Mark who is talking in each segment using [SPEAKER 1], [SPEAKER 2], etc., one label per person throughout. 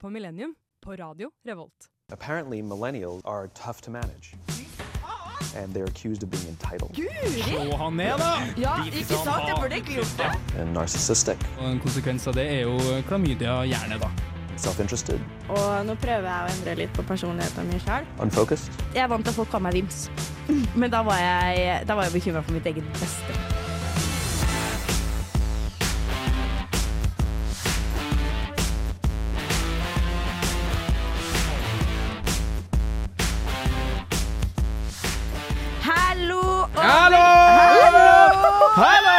[SPEAKER 1] på Millennium på Radio Revolt.
[SPEAKER 2] Apparently, millennials are tough to manage. And they're accused of being entitled
[SPEAKER 3] Slå han ned, da!
[SPEAKER 4] Ja, ikke sant? Jeg burde egentlig gjort det.
[SPEAKER 2] and narcissistic,
[SPEAKER 3] Og en konsekvens av det er jo klamydia hjerne, da.
[SPEAKER 2] self interested,
[SPEAKER 5] Og nå prøver jeg å endre litt på personligheten min sjøl.
[SPEAKER 2] unfocused,
[SPEAKER 5] Jeg er vant til at folk kaller meg Vims. Men da var jeg, da var jeg bekymra for mitt eget beste. Hallo! og-
[SPEAKER 3] Hallo! Hallo!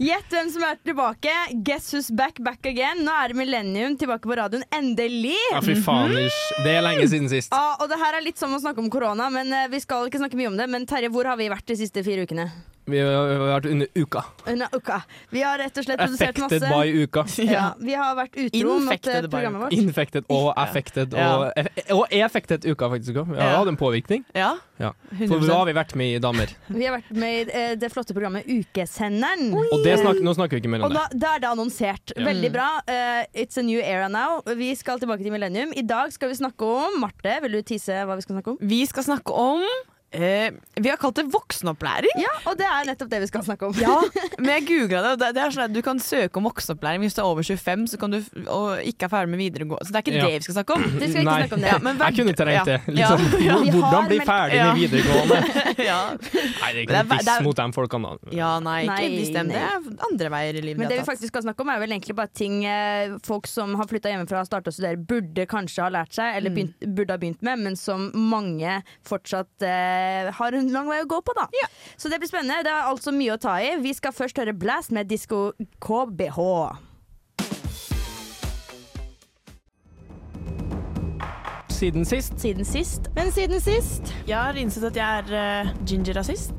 [SPEAKER 5] Gjett hvem som er tilbake. Guess who's back, back again. Nå er det Millennium tilbake på radioen. Endelig!
[SPEAKER 3] Ja, fy faen, Lish. Det er lenge siden sist.
[SPEAKER 5] Ja, og det her er litt som å snakke om korona, men eh, vi skal ikke snakke mye om det. Men Terje, hvor har vi vært de siste fire ukene?
[SPEAKER 3] Vi har vært under uka.
[SPEAKER 5] Under uka. Vi har rett og slett produsert
[SPEAKER 3] Affected
[SPEAKER 5] masse.
[SPEAKER 3] by uka.
[SPEAKER 5] ja, vi har vært utro mot eh,
[SPEAKER 4] Infected by
[SPEAKER 5] programmet vårt.
[SPEAKER 3] Infected og affected. Og, e, og affected uka, faktisk. også. Vi har
[SPEAKER 4] Ja.
[SPEAKER 3] hatt en påvirkning.
[SPEAKER 4] Ja,
[SPEAKER 3] Ja. For da
[SPEAKER 4] 100
[SPEAKER 3] har vi vært med i Damer.
[SPEAKER 5] Vi har vært med i eh, det flotte programmet Ukesenderen.
[SPEAKER 3] Og det snak, nå snakker vi ikke mer
[SPEAKER 5] Og
[SPEAKER 3] om det.
[SPEAKER 5] da, da er det annonsert.
[SPEAKER 3] Ja.
[SPEAKER 5] Veldig bra. Eh, it's a new era now. Vi skal tilbake til millennium. I dag skal vi snakke om Marte, vil du tise hva vi skal snakke om?
[SPEAKER 4] Vi skal snakke om eh, Vi har kalt det voksenopplæring.
[SPEAKER 5] Ja, og det er nettopp det vi skal snakke om.
[SPEAKER 4] Men jeg googla det, og det, det er sånn at du kan søke om voksenopplæring hvis du er over 25 så kan du, f- og ikke er ferdig med videregående. Så det er ikke
[SPEAKER 3] Ja.
[SPEAKER 4] det vi skal snakke om.
[SPEAKER 5] Vi skal ikke
[SPEAKER 3] Nei.
[SPEAKER 5] snakke om det.
[SPEAKER 4] Ja, men hver-
[SPEAKER 3] Jeg kunne
[SPEAKER 4] ja.
[SPEAKER 3] trengt det. Litt
[SPEAKER 4] Ja.
[SPEAKER 3] sånn,
[SPEAKER 5] Vi har
[SPEAKER 3] Hvordan bli
[SPEAKER 5] meldt-
[SPEAKER 3] ferdig
[SPEAKER 4] Ja.
[SPEAKER 3] med videregående?
[SPEAKER 4] ja.
[SPEAKER 3] Nei, det er
[SPEAKER 4] Det
[SPEAKER 3] ikke
[SPEAKER 4] er-
[SPEAKER 3] noe
[SPEAKER 4] det
[SPEAKER 3] diss
[SPEAKER 4] er-
[SPEAKER 3] mot de folkene. da.
[SPEAKER 4] ja, nei, ikke
[SPEAKER 5] Nei,
[SPEAKER 4] diss dem. Det er andre veier i livet.
[SPEAKER 5] Men det
[SPEAKER 4] de
[SPEAKER 5] vi
[SPEAKER 4] har tatt.
[SPEAKER 5] faktisk skal snakke om, er vel egentlig bare ting eh, folk som har flytta hjemmefra og starta å studere, burde kanskje ha lært seg, eller begynt, burde ha begynt med, men som mange fortsatt eh, har en lang vei å gå på, da. Så det blir spennende. Det er altså mye å ta i. Vi skal først høre Blast med disko KBH.
[SPEAKER 3] Siden sist
[SPEAKER 5] Siden sist. Men siden sist
[SPEAKER 6] Jeg har innsett at jeg er uh, ginger-rasist.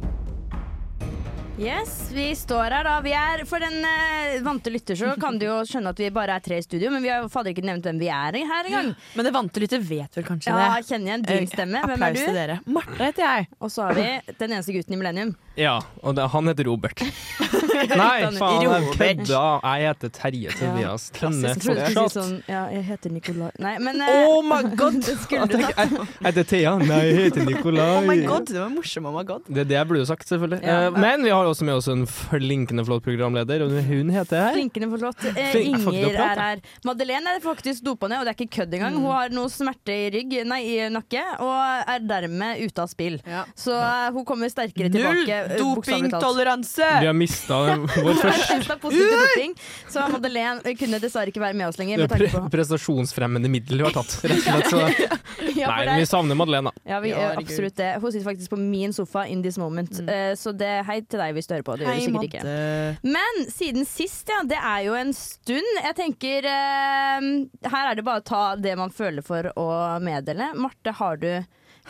[SPEAKER 5] Yes, vi står her da. Vi er, for den eh, vante lytter så kan du jo skjønne at vi bare er tre i studio, men vi har jo fader ikke nevnt hvem vi er her engang.
[SPEAKER 4] Men det vante lytter vet vel kanskje
[SPEAKER 5] Ja,
[SPEAKER 4] det.
[SPEAKER 5] kjenner igjen din stemme. Hvem
[SPEAKER 4] Applaus
[SPEAKER 5] er
[SPEAKER 4] til
[SPEAKER 5] du?
[SPEAKER 4] dere. Marte heter jeg.
[SPEAKER 5] Og så har vi den eneste gutten i Millennium.
[SPEAKER 3] Ja, og det, han heter Robert. Nei, faen, jeg
[SPEAKER 4] Robert.
[SPEAKER 3] kødda. Jeg heter Terje Tobias Tønne
[SPEAKER 5] Jeg trodde du skulle si
[SPEAKER 3] fortsatt.
[SPEAKER 5] sånn Ja, jeg heter Nicolai Nei, men eh,
[SPEAKER 3] Oh my god!
[SPEAKER 5] det skulle
[SPEAKER 3] Jeg
[SPEAKER 5] du da.
[SPEAKER 3] tenker, jeg heter Thea. Nei, jeg heter
[SPEAKER 4] Oh my
[SPEAKER 3] Nikolai.
[SPEAKER 4] god, det var morsom oh my god.
[SPEAKER 3] Det er det jeg burde jo sagt, selvfølgelig.
[SPEAKER 5] Ja.
[SPEAKER 3] Eh, Men vi har også med oss en flinkende flott programleder, og hun heter her.
[SPEAKER 5] Flinkene forlått. Eh,
[SPEAKER 3] Flink- Jeg får ikke
[SPEAKER 5] Inger
[SPEAKER 3] til å prate.
[SPEAKER 5] er her. Madeleine er faktisk dopa ned, og det er ikke kødd engang. Hun har noe smerte i rygg, nei, i nakke, og er dermed ute av spill.
[SPEAKER 4] Ja.
[SPEAKER 5] Så eh, hun kommer sterkere
[SPEAKER 4] Null
[SPEAKER 5] tilbake. eh, bokstavelig talt.
[SPEAKER 4] dopingtoleranse!
[SPEAKER 3] Vi har mista vår første
[SPEAKER 5] Testet positiv doping, så Madeleine eh, kunne dessverre ikke være med oss lenger. Med
[SPEAKER 3] pre
[SPEAKER 5] tanke på.
[SPEAKER 3] prestasjonsfremmende middel vi har tatt, rett og slett. Så.
[SPEAKER 5] Ja,
[SPEAKER 3] Nei,
[SPEAKER 5] for
[SPEAKER 3] men
[SPEAKER 5] det-
[SPEAKER 3] vi savner Madeleine. da.
[SPEAKER 5] ja, vi
[SPEAKER 4] Ja,
[SPEAKER 5] gjør
[SPEAKER 4] herregud.
[SPEAKER 5] absolutt det. Hun sitter faktisk på min sofa in this moment. Eh, Så det, hei til deg hvis du hører på. Det gjør du sikkert ikke. Men siden sist, ja. Det er jo en stund. Jeg tenker eh, Her er det bare å ta det man føler for å meddele. Marte, har du,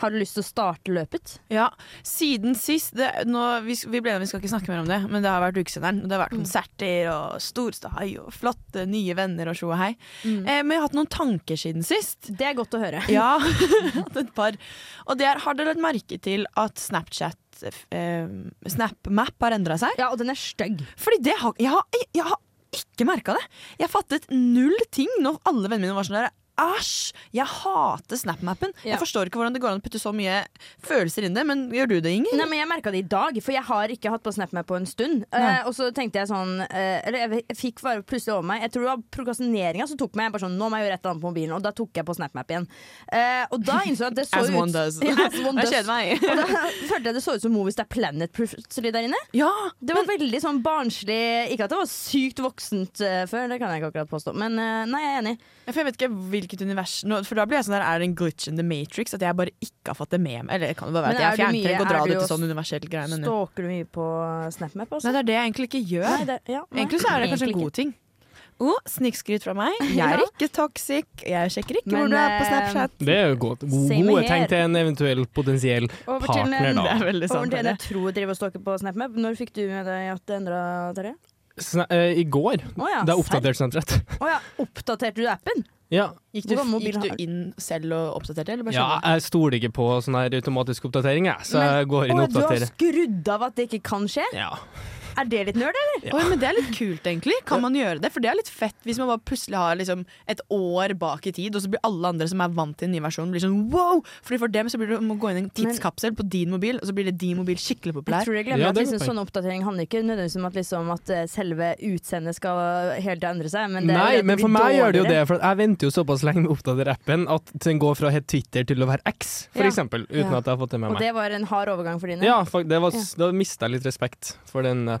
[SPEAKER 5] har du lyst til å starte løpet?
[SPEAKER 4] Ja, siden sist det, nå, vi, vi ble enige om vi skal ikke snakke mer om det, men det har vært ukesenderen. og Det har vært konserter og storstahai og flotte nye venner og tjo og hei. Eh, men jeg har hatt noen tanker siden sist.
[SPEAKER 5] Det er godt å høre.
[SPEAKER 4] Ja, hatt et par. Og det er, har dere lagt merke til at Snapchat eh, SnapMap har endra seg?
[SPEAKER 5] Ja, og den er stygg.
[SPEAKER 4] Fordi det har, jeg, har, jeg- jeg har ikke merka det. Jeg fattet null ting når alle vennene mine var sånn der. Æsj! Jeg hater SnapMappen.
[SPEAKER 5] Ja.
[SPEAKER 4] Jeg forstår ikke hvordan det går an å putte så mye følelser inn i det, men gjør du det, Inger?
[SPEAKER 5] Nei, men Jeg merka det i dag, for jeg har ikke hatt på SnapMap på en stund.
[SPEAKER 4] Nei.
[SPEAKER 5] Eh, og så tenkte jeg sånn eh, Eller jeg, vet- jeg fikk bare plutselig over meg Jeg tror det var prokrastineringa som tok meg. Jeg bare sånn, nå må jeg gjøre et eller annet på mobilen Og da tok jeg på SnapMap igjen. Eh, og da innså jeg at det så
[SPEAKER 4] As
[SPEAKER 5] ut
[SPEAKER 4] one does.
[SPEAKER 5] Ja, as one
[SPEAKER 4] Jeg
[SPEAKER 5] does.
[SPEAKER 4] kjeder meg.
[SPEAKER 5] Og da følte jeg det så ut som Movies Det er Planet plutselig der inne.
[SPEAKER 4] Ja,
[SPEAKER 5] Det var veldig sånn barnslig Ikke at det var sykt voksent eh, før, det kan jeg ikke akkurat påstå. Men eh, nei, jeg er enig.
[SPEAKER 4] for jeg vet ikke hvilket univers nå, For da blir jeg sånn der, er det en glitch in the matrix? At jeg bare ikke har fått det med meg? Eller det kan jo bare
[SPEAKER 5] Men
[SPEAKER 4] være at jeg
[SPEAKER 5] er du mye-
[SPEAKER 4] fjerntrekker og
[SPEAKER 5] er
[SPEAKER 4] drar
[SPEAKER 5] du
[SPEAKER 4] det til
[SPEAKER 5] jo
[SPEAKER 4] sånn universell greie. men-
[SPEAKER 5] Stalker du mye på SnapMap?
[SPEAKER 4] Nei,
[SPEAKER 5] Også?
[SPEAKER 4] det er det jeg egentlig ikke gjør.
[SPEAKER 5] Nei, det- ja, nei.
[SPEAKER 4] Egentlig så er det kanskje
[SPEAKER 5] Egentlig
[SPEAKER 4] en god ting. Oh, Snikskryt fra meg. Jeg
[SPEAKER 5] Ja.
[SPEAKER 4] er ikke toxic. Jeg sjekker ikke
[SPEAKER 5] Men,
[SPEAKER 4] hvor du er på
[SPEAKER 5] eh,
[SPEAKER 4] Snapchat.
[SPEAKER 3] Det er jo godt.
[SPEAKER 5] Same
[SPEAKER 3] Gode
[SPEAKER 5] here.
[SPEAKER 3] tegn til en eventuell potensiell
[SPEAKER 5] Over til
[SPEAKER 3] partner,
[SPEAKER 5] en-
[SPEAKER 3] da.
[SPEAKER 4] Det er veldig
[SPEAKER 5] Over
[SPEAKER 4] sant.
[SPEAKER 5] til en
[SPEAKER 4] Terje.
[SPEAKER 5] jeg tror driver og stalker på SnapMap. Når fikk du med deg at det endra, Terje?
[SPEAKER 3] Sna eh, I går.
[SPEAKER 5] Å ja,
[SPEAKER 3] Det er oppdatert sentrett.
[SPEAKER 5] serr. Å ja, oppdaterte du appen?
[SPEAKER 3] Ja.
[SPEAKER 4] Gikk du,
[SPEAKER 5] Hvor gammel
[SPEAKER 4] gikk
[SPEAKER 5] bil har
[SPEAKER 4] du inn selv og oppdaterte, eller bare
[SPEAKER 3] ja,
[SPEAKER 4] skjønner?
[SPEAKER 3] jeg stoler ikke på sånn her automatisk oppdatering, jeg, så
[SPEAKER 5] Men-
[SPEAKER 3] jeg går inn
[SPEAKER 5] Å,
[SPEAKER 3] og
[SPEAKER 5] du har
[SPEAKER 3] oppdaterer.
[SPEAKER 5] skrudd av at det ikke kan skje?
[SPEAKER 3] Ja.
[SPEAKER 5] Er det litt nerd, eller?
[SPEAKER 4] Oi, men Det er litt kult, egentlig. Kan man gjøre det? For det er litt fett hvis man bare plutselig har liksom, et år bak i tid, og så blir alle andre som er vant til den nye versjonen, blir sånn wow! Fordi For dem så blir det å må gå inn i en tidskapsel på din mobil, og så blir det din mobil skikkelig
[SPEAKER 5] Jeg
[SPEAKER 4] populær.
[SPEAKER 5] tror jeg glemmer
[SPEAKER 3] Ja,
[SPEAKER 5] at
[SPEAKER 3] det er
[SPEAKER 5] liksom,
[SPEAKER 3] godt poeng.
[SPEAKER 5] sånn oppdatering handler ikke nødvendigvis om at, liksom, at eh, selve utseendet skal hele tida endre seg. Men det er jo
[SPEAKER 3] Nei,
[SPEAKER 5] at
[SPEAKER 3] men
[SPEAKER 5] blir
[SPEAKER 3] for meg gjør det jo det,
[SPEAKER 5] dårligere.
[SPEAKER 3] for jeg venter jo såpass lenge med å oppdatere appen at den går fra å hete Twitter til å være X, for
[SPEAKER 5] Ja.
[SPEAKER 3] eksempel, uten
[SPEAKER 4] Ja.
[SPEAKER 3] at jeg har fått det med
[SPEAKER 5] Og
[SPEAKER 3] meg.
[SPEAKER 5] det var en hard overgang for dine.
[SPEAKER 3] Ja, fak- det var, s- Da mista jeg litt respekt for den appen.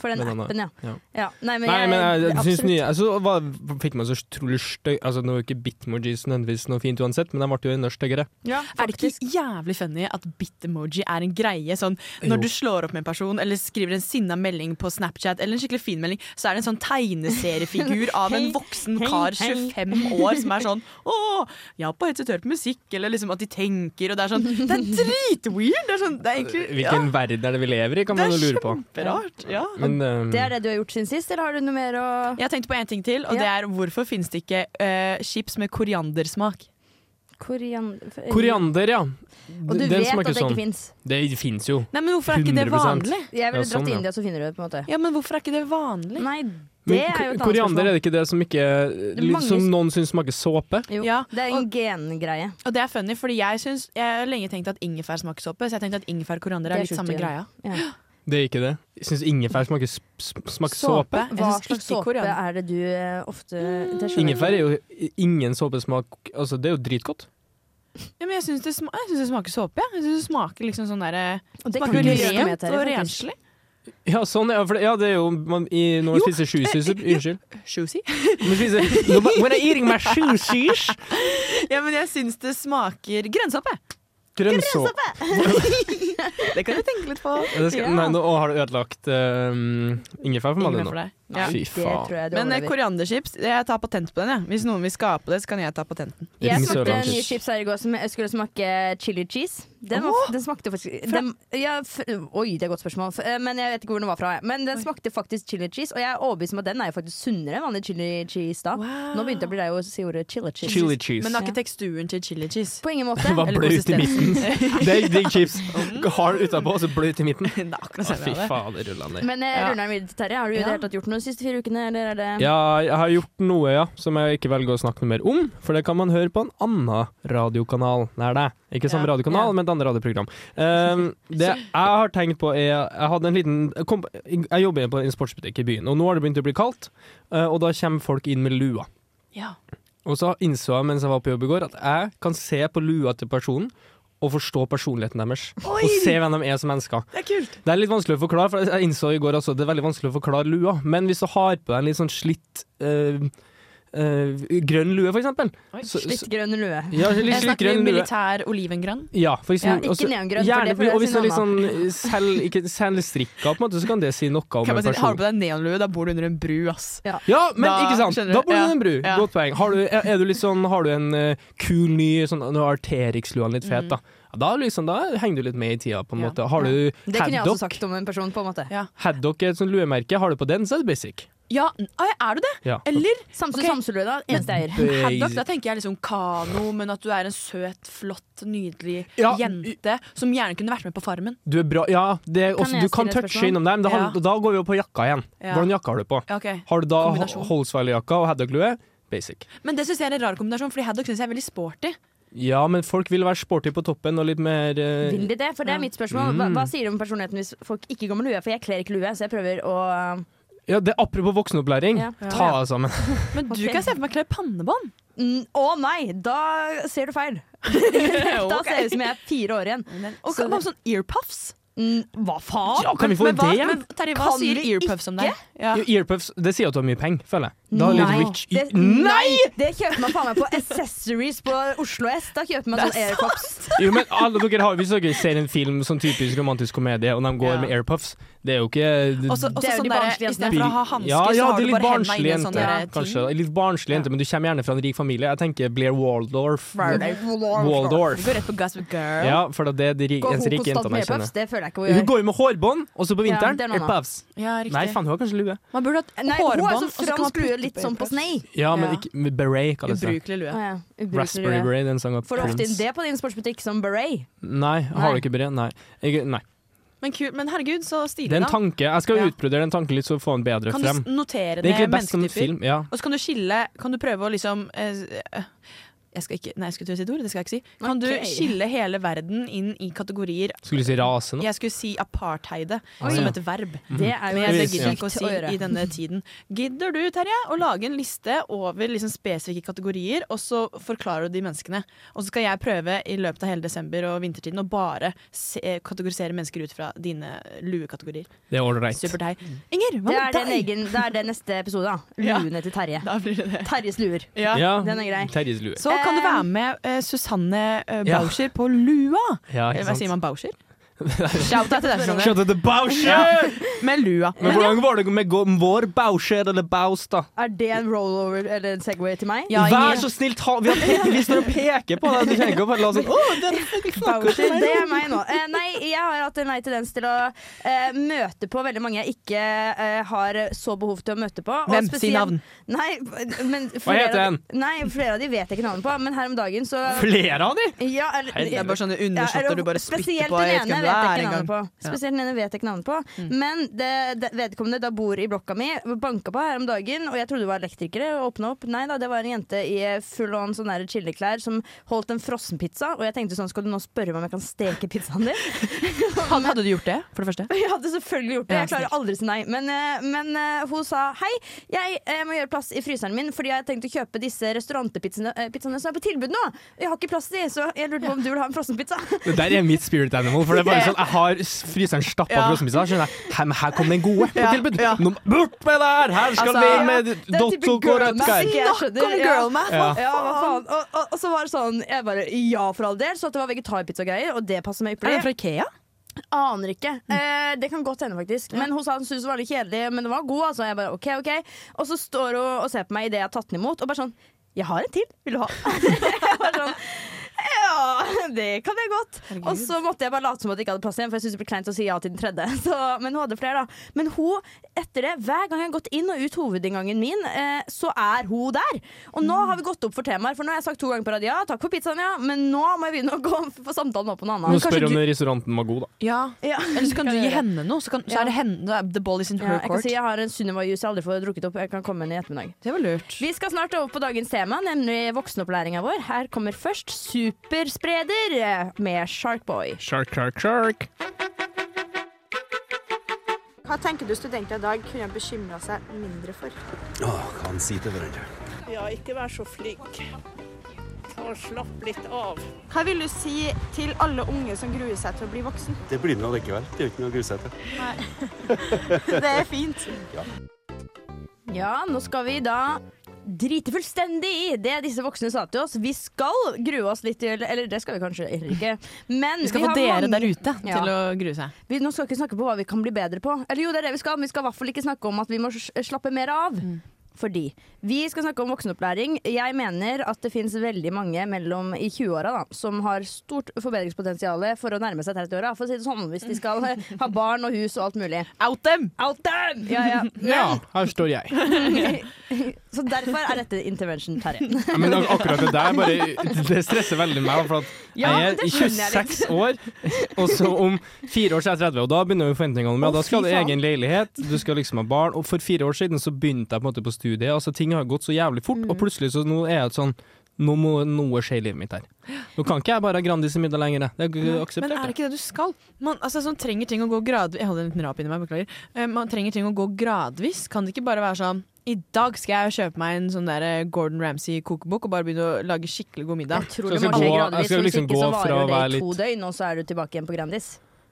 [SPEAKER 5] For den
[SPEAKER 3] Men den er-
[SPEAKER 5] appen, ja.
[SPEAKER 3] ja.
[SPEAKER 5] ja. Nei, men,
[SPEAKER 3] Nei, men jeg, jeg
[SPEAKER 5] absolutt.
[SPEAKER 3] synes nye Så var- fikk man så utrolig støy Altså, nå er jo ikke Bitmojis nødvendigvis noe fint uansett, men de ble jo enda styggere.
[SPEAKER 5] Ja,
[SPEAKER 4] Er det
[SPEAKER 5] faktisk.
[SPEAKER 4] ikke jævlig funny at bit-emoji er en greie? Sånn,
[SPEAKER 3] Jo.
[SPEAKER 4] når du slår opp med en person, eller skriver en sinna melding på Snapchat, eller en skikkelig fin melding, så er det en sånn tegneseriefigur av en
[SPEAKER 5] Hei,
[SPEAKER 4] voksen
[SPEAKER 5] hei,
[SPEAKER 4] kar,
[SPEAKER 5] hei.
[SPEAKER 4] 25 år, som er sånn Å, jeg har på headset hørt på musikk, eller liksom at de tenker, og det er sånn Det er dritweird! Det er sånn, det er egentlig ja,
[SPEAKER 3] Hvilken verden er det vi lever i, kan
[SPEAKER 4] Det
[SPEAKER 3] man
[SPEAKER 4] er
[SPEAKER 3] jo lure på.
[SPEAKER 4] kjemperart. Ja.
[SPEAKER 3] Men eh,
[SPEAKER 5] Det er det du har gjort siden sist, eller har du noe mer å
[SPEAKER 4] Jeg har tenkt på en ting til, og
[SPEAKER 5] Ja.
[SPEAKER 4] det er hvorfor finnes det ikke eh, chips med koriandersmak?
[SPEAKER 5] Korian...
[SPEAKER 3] koriander, ja.
[SPEAKER 5] Og du
[SPEAKER 3] Den
[SPEAKER 5] vet at
[SPEAKER 3] smaker
[SPEAKER 5] det ikke
[SPEAKER 3] sånn.
[SPEAKER 5] fins.
[SPEAKER 3] Det fins jo.
[SPEAKER 4] Nei, men hvorfor er ikke det
[SPEAKER 3] 100%.
[SPEAKER 4] vanlig?
[SPEAKER 3] Ja,
[SPEAKER 5] Jeg ville dratt
[SPEAKER 3] sånn,
[SPEAKER 5] til
[SPEAKER 3] ja.
[SPEAKER 5] India, så finner du det, på en måte.
[SPEAKER 4] Ja, men hvorfor er ikke det vanlig?
[SPEAKER 5] Nei, det
[SPEAKER 3] Men
[SPEAKER 5] er jo et
[SPEAKER 3] ko-
[SPEAKER 5] annet
[SPEAKER 3] koriander er
[SPEAKER 5] spørsmål.
[SPEAKER 3] det ikke det som ikke
[SPEAKER 5] er mange
[SPEAKER 3] Som
[SPEAKER 5] som-
[SPEAKER 3] noen syns smaker såpe?
[SPEAKER 5] Jo,
[SPEAKER 4] Ja,
[SPEAKER 5] det er en gengreie.
[SPEAKER 4] Og det er funny, fordi jeg, synes, jeg har lenge tenkt at ingefær smaker såpe, så jeg tenkte at ingefær og
[SPEAKER 5] Det
[SPEAKER 4] koriander er
[SPEAKER 5] er
[SPEAKER 4] litt
[SPEAKER 5] sjukt
[SPEAKER 4] samme
[SPEAKER 5] igjen.
[SPEAKER 4] greia.
[SPEAKER 5] Ja.
[SPEAKER 3] Det er ikke det. Jeg syns ingefær smaker, s- s- smaker såpe.
[SPEAKER 4] Jeg
[SPEAKER 5] Hva
[SPEAKER 4] synes
[SPEAKER 5] slags
[SPEAKER 4] ikke
[SPEAKER 5] såpe
[SPEAKER 4] koriander-
[SPEAKER 5] er det du eh, ofte det skjønner jeg ikke.
[SPEAKER 3] Ingefær er jo ingen såpesmak Altså, det er jo dritgodt.
[SPEAKER 4] Ja, men jeg syns det, sma jeg synes det smaker såpe. jeg. Jeg synes det smaker liksom sånn derre
[SPEAKER 5] Og det
[SPEAKER 4] Smaker
[SPEAKER 5] kan vi
[SPEAKER 3] ikke
[SPEAKER 5] gjøre noe med
[SPEAKER 4] rent
[SPEAKER 5] dette
[SPEAKER 4] og
[SPEAKER 5] her, faktisk.
[SPEAKER 4] renslig.
[SPEAKER 3] Ja, sånn, ja. For det, ja, det er jo man, i, Når man
[SPEAKER 4] Jo,
[SPEAKER 3] spiser shoesies Unnskyld.
[SPEAKER 4] Juicy.
[SPEAKER 3] Man spiser, no, but when I'm eating my shoesies
[SPEAKER 4] Ja, men jeg syns det smaker grønnsåpe.
[SPEAKER 3] Grønnsåpe!
[SPEAKER 4] Det kan du tenke litt på.
[SPEAKER 3] Det skal- Nei, nå å, har du ødelagt eh, ingefær for meg
[SPEAKER 4] Ingefær
[SPEAKER 3] nå.
[SPEAKER 4] for deg.
[SPEAKER 5] Nei,
[SPEAKER 4] Ja.
[SPEAKER 3] Fy
[SPEAKER 5] Det
[SPEAKER 3] faen.
[SPEAKER 5] tror jeg du
[SPEAKER 4] Men eh,
[SPEAKER 5] overlever.
[SPEAKER 4] korianderchips, jeg tar patent på den. jeg. Hvis noen vil skape det, så kan jeg ta patenten.
[SPEAKER 5] Jeg
[SPEAKER 3] Ring
[SPEAKER 5] smakte
[SPEAKER 3] Sørlandschips.
[SPEAKER 5] nye chips her i går som jeg skulle smake chili cheese. Den, var, den smakte faktisk den, ja, f Oi, det er et godt spørsmål. F eh, men jeg vet ikke hvor den var fra. jeg. Men den smakte faktisk chili cheese, og jeg er overbevist om at den er jo faktisk sunnere enn vanlig chili cheese. da Nå begynte jeg å bli lei av å si ordet chili cheese.
[SPEAKER 3] Chili cheese.
[SPEAKER 4] Men det har ikke teksturen til chili cheese.
[SPEAKER 5] På ingen måte.
[SPEAKER 3] Det var
[SPEAKER 4] Eller
[SPEAKER 3] bløt i midten. Det er digg chips. Hard utapå og så bløt i midten.
[SPEAKER 4] Det er akkurat
[SPEAKER 3] Å,
[SPEAKER 4] sånn
[SPEAKER 3] fy
[SPEAKER 4] jeg har det.
[SPEAKER 3] fader, rulla ned.
[SPEAKER 5] Men eh,
[SPEAKER 4] Ja.
[SPEAKER 5] runder den videre til Terje. Har du i det
[SPEAKER 4] Ja.
[SPEAKER 5] hele tatt gjort noe de siste fire ukene? Eller er det
[SPEAKER 4] Eh.
[SPEAKER 3] Ja, jeg har gjort noe, ja, som jeg ikke velger å snakke noe mer om. For det kan man høre på en annen radiokanal nær deg. Ikke samme
[SPEAKER 4] Ja,
[SPEAKER 3] radiokanal,
[SPEAKER 4] ja.
[SPEAKER 3] men et annet radioprogram. Ehm, det jeg har tenkt på, er Jeg hadde en liten jeg kom, Jeg jobber på en sportsbutikk i byen, og nå har det begynt å bli kaldt. eh, Og da kommer folk inn med lua.
[SPEAKER 4] Ja.
[SPEAKER 3] Og så innså jeg mens jeg var på jobb i går, at jeg kan se på lua til personen. Og forstå personligheten deres. Og se hvem de er som mennesker.
[SPEAKER 4] Det er kult.
[SPEAKER 3] Det er litt vanskelig å forklare, for jeg innså i går altså, det er veldig vanskelig å forklare lua. Men hvis du har på deg en litt sånn slitt øh, øh, grønn lue, for eksempel
[SPEAKER 4] Oi,
[SPEAKER 3] så-
[SPEAKER 5] Litt grønn lue.
[SPEAKER 3] ja, litt
[SPEAKER 4] Jeg
[SPEAKER 3] slitt
[SPEAKER 4] snakker
[SPEAKER 3] grønn lue.
[SPEAKER 4] militær olivengrønn.
[SPEAKER 3] Ja, for
[SPEAKER 5] Ja,
[SPEAKER 3] eksempel,
[SPEAKER 5] ikke
[SPEAKER 3] også-
[SPEAKER 5] neongrønn, for
[SPEAKER 3] gjerne-
[SPEAKER 5] det får jeg
[SPEAKER 3] og hvis
[SPEAKER 5] si
[SPEAKER 3] det er litt
[SPEAKER 5] noe
[SPEAKER 3] sånn øh, selv, ikke, selvstrikka, på en måte, så kan det si noe om
[SPEAKER 4] Kan
[SPEAKER 3] en
[SPEAKER 4] man si, har
[SPEAKER 3] person.
[SPEAKER 4] du på deg neonlue, da bor du under en bru, ass.
[SPEAKER 3] Ja, men
[SPEAKER 4] Da-
[SPEAKER 3] ikke sant?
[SPEAKER 4] skjønner
[SPEAKER 3] Da
[SPEAKER 4] du,
[SPEAKER 3] bor du
[SPEAKER 4] ja,
[SPEAKER 3] under en bru.
[SPEAKER 4] ja.
[SPEAKER 3] Godt poeng. Har du, er, er du litt sånn, har du en øh, kul, ny sånn, Nå er Arterix-lua litt fet, da. Ja, da, liksom, da henger du litt med i tida, på en
[SPEAKER 4] Ja.
[SPEAKER 3] måte. Har du
[SPEAKER 5] Det kunne jeg også
[SPEAKER 3] Haddock?
[SPEAKER 5] sagt om en person, på en måte.
[SPEAKER 4] Ja.
[SPEAKER 3] Haddock er et sånt luemerke. Har du på den, så er det basic.
[SPEAKER 4] Ja, n- ah, ja, er du det?
[SPEAKER 3] Ja. Eh,
[SPEAKER 4] Eller
[SPEAKER 5] Samsung,
[SPEAKER 4] Ok.
[SPEAKER 5] Samsulue, da. Eneste eier.
[SPEAKER 4] haddock? Da tenker jeg liksom kano, men at du er en søt, flott, nydelig
[SPEAKER 3] Ja,
[SPEAKER 4] jente som gjerne kunne vært med på Farmen.
[SPEAKER 3] Du er bra, ja, det er også,
[SPEAKER 5] jeg
[SPEAKER 3] du kan
[SPEAKER 5] stille et
[SPEAKER 3] touche
[SPEAKER 5] spørsmål?
[SPEAKER 3] innom deg, men det handler-
[SPEAKER 4] Ja.
[SPEAKER 3] da går vi jo på jakka igjen.
[SPEAKER 4] Ja.
[SPEAKER 3] Hvordan jakke har du på?
[SPEAKER 4] Ja, ok.
[SPEAKER 3] Har du da
[SPEAKER 4] Kombinasjon.
[SPEAKER 3] Holsweiler-jakka og Haddock-lue? Basic.
[SPEAKER 4] Men det syns jeg er en rar kombinasjon, fordi haddock syns jeg er veldig sporty.
[SPEAKER 3] Ja, men folk vil være sporty på toppen og litt mer eh,
[SPEAKER 5] Vil de det? For det er mitt spørsmål. Hva,
[SPEAKER 3] Mm.
[SPEAKER 5] hva sier du om personligheten hvis folk ikke går med lue? For jeg kler ikke lue, så jeg prøver å um,
[SPEAKER 3] Ja, det er Apropos voksenopplæring,
[SPEAKER 5] Ja. Ja.
[SPEAKER 3] ta deg sammen.
[SPEAKER 4] Men du
[SPEAKER 5] Ok.
[SPEAKER 4] kan se for meg kle pannebånd.
[SPEAKER 5] Mm, Å nei, da ser du feil. Da ser jeg ut som jeg er fire år igjen.
[SPEAKER 4] Og
[SPEAKER 5] Så-
[SPEAKER 4] kan, bare sånn earpuffs.
[SPEAKER 5] Mm, hva faen?
[SPEAKER 3] Ja, kan vi få
[SPEAKER 4] men,
[SPEAKER 3] det
[SPEAKER 4] hva,
[SPEAKER 3] igjen?
[SPEAKER 4] men Terje, hva
[SPEAKER 5] Kan
[SPEAKER 4] sier
[SPEAKER 5] vi
[SPEAKER 4] earpuffs om deg? Ja.
[SPEAKER 3] Jo, Earpuffs, det sier at du har mye penger, føler jeg. Da er litt rich.
[SPEAKER 5] Det, nei! Det kjøper man faen meg på accessories på Oslo S. Da kjøper man
[SPEAKER 4] Det er
[SPEAKER 5] sånn aircops.
[SPEAKER 3] Jo, men alle dere har, Hvis dere ser en film som typisk romantisk komedie, og de går
[SPEAKER 4] Ja.
[SPEAKER 3] med airpuffs, det er jo ikke
[SPEAKER 4] Også,
[SPEAKER 5] Det er jo
[SPEAKER 4] sånn
[SPEAKER 5] de
[SPEAKER 4] der,
[SPEAKER 5] barnslige
[SPEAKER 4] Istedenfor å ha hansker, så har
[SPEAKER 3] det
[SPEAKER 4] du
[SPEAKER 3] er litt
[SPEAKER 4] bare hendene
[SPEAKER 3] barnslig
[SPEAKER 4] inni en
[SPEAKER 3] jente,
[SPEAKER 4] sånn der
[SPEAKER 3] kanskje.
[SPEAKER 4] ting.
[SPEAKER 3] Litt barnslig jente, men du kommer gjerne fra en rik familie. Jeg tenker Blair Waldorf.
[SPEAKER 4] Du
[SPEAKER 3] Waldorf.
[SPEAKER 4] går rett på Gossip Girl.
[SPEAKER 3] Ja, for det er de ri-
[SPEAKER 5] Går
[SPEAKER 3] eneste
[SPEAKER 5] hun
[SPEAKER 3] rike
[SPEAKER 5] konstant
[SPEAKER 3] jentene
[SPEAKER 5] med
[SPEAKER 3] jeg kjenner.
[SPEAKER 5] airpops? Det føler jeg ikke
[SPEAKER 3] Hun
[SPEAKER 5] hun gjør.
[SPEAKER 3] går jo med hårbånd, og så på
[SPEAKER 5] Ja,
[SPEAKER 3] vinteren
[SPEAKER 5] det er noe annet.
[SPEAKER 3] airpuffs.
[SPEAKER 4] Ja,
[SPEAKER 3] Nei,
[SPEAKER 4] riktig.
[SPEAKER 3] faen, hun har kanskje lue.
[SPEAKER 4] Man burde hatt
[SPEAKER 5] Nei, hun er
[SPEAKER 4] hårbånd.
[SPEAKER 5] sånn fransk lue, litt sånn på snei.
[SPEAKER 3] Ja,
[SPEAKER 4] Ja.
[SPEAKER 3] men ikke med beret, kalles det.
[SPEAKER 4] Ubrukelig
[SPEAKER 5] Å
[SPEAKER 4] lue.
[SPEAKER 5] ja, ubrukelig
[SPEAKER 3] Raspberry
[SPEAKER 5] lue.
[SPEAKER 3] beret, den sang av
[SPEAKER 5] Får du ofte inn
[SPEAKER 3] Prince. Mm.
[SPEAKER 5] det på din sportsbutikk som beret?
[SPEAKER 3] Nei, har
[SPEAKER 5] Nei.
[SPEAKER 3] du ikke beret? Nei. Jeg, nei.
[SPEAKER 4] Men, ku- men herregud, så
[SPEAKER 3] Det
[SPEAKER 4] stilig,
[SPEAKER 3] er en
[SPEAKER 4] da.
[SPEAKER 3] tanke. Jeg skal
[SPEAKER 4] Ja.
[SPEAKER 3] utbrodere den tanken litt, så få den bedre
[SPEAKER 4] Kan du
[SPEAKER 3] frem.
[SPEAKER 4] s- notere
[SPEAKER 3] Det er egentlig
[SPEAKER 4] ned
[SPEAKER 3] best som
[SPEAKER 4] mennesketyper?
[SPEAKER 3] film. Ja.
[SPEAKER 4] Og så kan du skille Kan du prøve å liksom eh, eh, Jeg skal ikke Nei, jeg skulle til å si et ord. Det skal jeg ikke si. Kan
[SPEAKER 5] Ok.
[SPEAKER 4] du skille hele verden inn i kategorier
[SPEAKER 3] Skulle du si rase nå?
[SPEAKER 4] Jeg skulle si apartheide
[SPEAKER 3] Ah,
[SPEAKER 4] som
[SPEAKER 3] ja.
[SPEAKER 4] et verb.
[SPEAKER 5] Det er
[SPEAKER 4] Men
[SPEAKER 5] jo
[SPEAKER 4] jeg
[SPEAKER 3] det
[SPEAKER 4] det gidder
[SPEAKER 3] visste
[SPEAKER 4] jeg ikke å si i
[SPEAKER 5] gjøre.
[SPEAKER 4] denne tiden. Gidder du, Terje, å lage en liste over liksom spesifikke kategorier, og så forklarer du de menneskene? Og så skal jeg prøve i løpet av hele desember og vintertiden å bare se, kategorisere mennesker ut fra dine luekategorier.
[SPEAKER 3] Det er ålreit.
[SPEAKER 4] Super deg. Inger,
[SPEAKER 5] Det
[SPEAKER 4] hva
[SPEAKER 5] er, den
[SPEAKER 4] med deg?
[SPEAKER 5] egen, det er det neste episode, da.
[SPEAKER 4] Ja.
[SPEAKER 5] Luene til Terje.
[SPEAKER 4] Da blir det det.
[SPEAKER 5] Terjes luer.
[SPEAKER 4] Ja.
[SPEAKER 3] Ja.
[SPEAKER 5] Den er grei.
[SPEAKER 3] Terjes lue.
[SPEAKER 4] Så kan du
[SPEAKER 5] Eh,
[SPEAKER 4] være med eh, Susanne eh,
[SPEAKER 3] ja.
[SPEAKER 4] Bauscher på Lua.
[SPEAKER 3] Ja,
[SPEAKER 4] Eller
[SPEAKER 3] ikke
[SPEAKER 4] hva
[SPEAKER 3] sant?
[SPEAKER 4] sier man Bauscher? Shout out til deg, Susanne.
[SPEAKER 3] Shout out to Bauscher!
[SPEAKER 4] Med Lua.
[SPEAKER 3] Men hvordan var det med gå- vår Bauscher eller Baus, da?
[SPEAKER 5] Er det en rollover eller en Segway til meg?
[SPEAKER 4] Ja,
[SPEAKER 3] Vær
[SPEAKER 4] Inger.
[SPEAKER 3] så snill, ta Vi, har pe vi står og peker på deg. Du trenger ikke å bare la oss sånn «Å, den fucking snakker til
[SPEAKER 5] Bauer,
[SPEAKER 3] meg».
[SPEAKER 5] det er meg nå. Eh, nei, jeg har hatt en lei tendens til å eh, møte på veldig mange jeg ikke eh, har så behov til å møte på. og
[SPEAKER 4] Hvem?
[SPEAKER 5] spesielt-
[SPEAKER 4] Si navn.
[SPEAKER 5] Nei, men
[SPEAKER 3] Hva heter
[SPEAKER 5] av-
[SPEAKER 3] den?
[SPEAKER 5] Nei, flere av de vet jeg ikke navnet på, men her om dagen så
[SPEAKER 3] Flere av de?
[SPEAKER 5] ja, eller,
[SPEAKER 4] Det er bare sånne
[SPEAKER 5] ja, eller-
[SPEAKER 4] undersåtter du bare spytter
[SPEAKER 5] spesielt
[SPEAKER 4] på. Jeg
[SPEAKER 5] den
[SPEAKER 4] vet ikke
[SPEAKER 5] ene vet
[SPEAKER 4] hvem du
[SPEAKER 5] jeg
[SPEAKER 4] er
[SPEAKER 5] ikke navnet
[SPEAKER 4] engang.
[SPEAKER 5] på.
[SPEAKER 4] Ja. Mm.
[SPEAKER 5] Spesielt den ene vet jeg ikke navnet på. Men det, det, vedkommende da bor i blokka mi, banka på her om dagen, og jeg trodde det var elektrikere, og åpna opp. Nei da, det var en jente i full on sånn der chilleklær som holdt en frossenpizza, og jeg tenkte sånn, skal du nå spørre meg om jeg kan steke pizzaen din?
[SPEAKER 4] Han hadde du gjort det, for det første?
[SPEAKER 5] Jeg hadde selvfølgelig gjort det.
[SPEAKER 4] Ja,
[SPEAKER 5] Jeg klarer aldri å si nei. Men, eh, men eh, hun sa hei, jeg eh, må gjøre plass i fryseren min fordi jeg har tenkt å kjøpe disse restaurantpizzaene eh, pizzaene som er på tilbud nå. Jeg har ikke plass til de, så jeg lurte på om du vil ha en frossenpizza.
[SPEAKER 3] Det der er mitt spirit animal. For det er bare sånn Jeg har s- fryseren stappa
[SPEAKER 4] Ja.
[SPEAKER 3] av frossenpizza. Skjønner jeg. Her, men her kom den gode på
[SPEAKER 4] Ja,
[SPEAKER 3] tilbud.
[SPEAKER 4] ja.
[SPEAKER 3] Nå, bort med det her! Her skal
[SPEAKER 4] Altså,
[SPEAKER 3] vi med
[SPEAKER 5] Det er type
[SPEAKER 3] dottok og rødt
[SPEAKER 5] girlmath,
[SPEAKER 3] gær.
[SPEAKER 5] ikke jeg skjønner.
[SPEAKER 4] Snakk om
[SPEAKER 5] Ja.
[SPEAKER 4] girlmath,
[SPEAKER 3] hva
[SPEAKER 5] Ja, hva faen. Og, og, og så var det sånn Jeg bare ja, for all del. Så at det var vegetarpizzagreier, og det passer meg
[SPEAKER 4] Er
[SPEAKER 5] ypperlig.
[SPEAKER 4] den fra Ikea?
[SPEAKER 5] Aner ikke. Eh, det kan godt hende, faktisk. Men hun sa hun syntes det var litt kjedelig, men den var god. Altså. Jeg bare, ok, ok Og så står hun og ser på meg idet jeg har tatt den imot, og bare sånn Jeg har en til. Vil du ha? jeg bare sånn ja, det kan jeg godt. Og så måtte jeg bare late som at jeg ikke hadde plass igjen, for jeg syntes det ble kleint å si ja til den tredje. Så, men hun hadde flere, da. Men hun, etter det, hver gang jeg har gått inn og ut hovedinngangen min, eh, så er hun der. Og nå har vi gått opp for temaer, for nå har jeg sagt to ganger på rad ja, takk for pizzaen, ja, men nå må jeg begynne å gå for samtalen opp på noe
[SPEAKER 3] Nå
[SPEAKER 5] annet.
[SPEAKER 3] spør om restauranten var god, da.
[SPEAKER 4] Ja.
[SPEAKER 5] Ja.
[SPEAKER 4] Eller så kan du
[SPEAKER 5] Kan
[SPEAKER 4] gi
[SPEAKER 5] jeg gjøre.
[SPEAKER 4] henne noe, så, kan, så
[SPEAKER 5] Ja.
[SPEAKER 4] er det henne, da er the ball is in
[SPEAKER 5] Ja,
[SPEAKER 4] her
[SPEAKER 5] jeg kan
[SPEAKER 4] court.
[SPEAKER 5] si jeg har en Sunniva-juice jeg aldri får drukket opp. Jeg kan komme inn i ettermiddag.
[SPEAKER 4] Det var lurt.
[SPEAKER 5] Vi skal snart over på dagens tema, nemlig voksenopplæringa vår. Her kommer først Superspreder med Sharkboy.
[SPEAKER 3] Shark, shark, shark.
[SPEAKER 7] Hva tenker du studenter i dag kunne bekymra seg mindre for?
[SPEAKER 8] Ja, ikke vær så flink. Ta og slapp litt av.
[SPEAKER 7] Hva vil du si til alle unge som gruer seg til å bli voksen?
[SPEAKER 9] Det blir med allikevel. Det er jo ikke noe å grue seg til.
[SPEAKER 7] Det er fint.
[SPEAKER 5] Ja, nå skal vi da drite fullstendig i det disse voksne sa til oss. Vi skal grue oss litt til Eller det skal vi kanskje heller ikke. Men
[SPEAKER 4] Vi skal få
[SPEAKER 5] har mange-
[SPEAKER 4] dere der ute
[SPEAKER 5] Ja.
[SPEAKER 4] til å grue seg.
[SPEAKER 5] vi, Nå skal vi ikke snakke på hva vi kan bli bedre på. Eller jo, det er det vi skal, men vi skal i hvert fall ikke snakke om at vi må s- slappe mer av.
[SPEAKER 4] Mm.
[SPEAKER 5] Fordi vi skal snakke om voksenopplæring. Jeg mener at det finnes veldig mange mellom i 20-åra da, som har stort forbedringspotensial for å nærme seg 30-åra, for å si det sånn, hvis de skal eh, ha barn og hus og alt mulig.
[SPEAKER 4] Out them!
[SPEAKER 5] Out them! Ja, ja.
[SPEAKER 3] Ja, her står jeg.
[SPEAKER 5] Så derfor er dette intervention, Terje.
[SPEAKER 3] Ja, men ak- akkurat det der bare Det stresser veldig meg. For at
[SPEAKER 5] Ja,
[SPEAKER 3] jeg
[SPEAKER 5] men det
[SPEAKER 3] er
[SPEAKER 5] skjønner jeg liksom. litt.
[SPEAKER 3] 26 år, og så om fire år så er jeg 30, og da begynner jo forventningene med.
[SPEAKER 5] Å,
[SPEAKER 3] Da skal du
[SPEAKER 5] fy
[SPEAKER 3] ha
[SPEAKER 5] faen.
[SPEAKER 3] egen leilighet, du skal liksom ha barn. Og for fire år siden så begynte jeg på en måte på studiet. Altså Ting har gått så jævlig fort,
[SPEAKER 5] Mm.
[SPEAKER 3] og plutselig så nå er jeg sånn Nå må noe skje i livet mitt her. Nå kan ikke jeg bare ha Grandis i middag lenger. jeg. Det er
[SPEAKER 4] Men er
[SPEAKER 3] akseptert.
[SPEAKER 4] det
[SPEAKER 3] det.
[SPEAKER 4] ikke det du skal? Man, altså, sånn, trenger ting å gå gradvis Jeg holder en liten rap inni meg, beklager. Eh, man trenger ting å gå gradvis. Kan det ikke bare være sånn i dag skal jeg kjøpe meg en sånn der eh, Gordon Ramsay-kokebok og bare begynne å lage skikkelig god middag.
[SPEAKER 5] Jeg tror
[SPEAKER 3] Så
[SPEAKER 5] det
[SPEAKER 3] jeg
[SPEAKER 5] må
[SPEAKER 3] skal
[SPEAKER 5] skje
[SPEAKER 3] gå- jeg
[SPEAKER 5] gradvis,
[SPEAKER 3] skal
[SPEAKER 5] hvis
[SPEAKER 3] liksom
[SPEAKER 5] ikke
[SPEAKER 3] gå
[SPEAKER 5] så
[SPEAKER 3] fra å
[SPEAKER 5] varer
[SPEAKER 3] være
[SPEAKER 5] det i to
[SPEAKER 3] litt-
[SPEAKER 5] døgn, og så er du tilbake igjen på Grandis.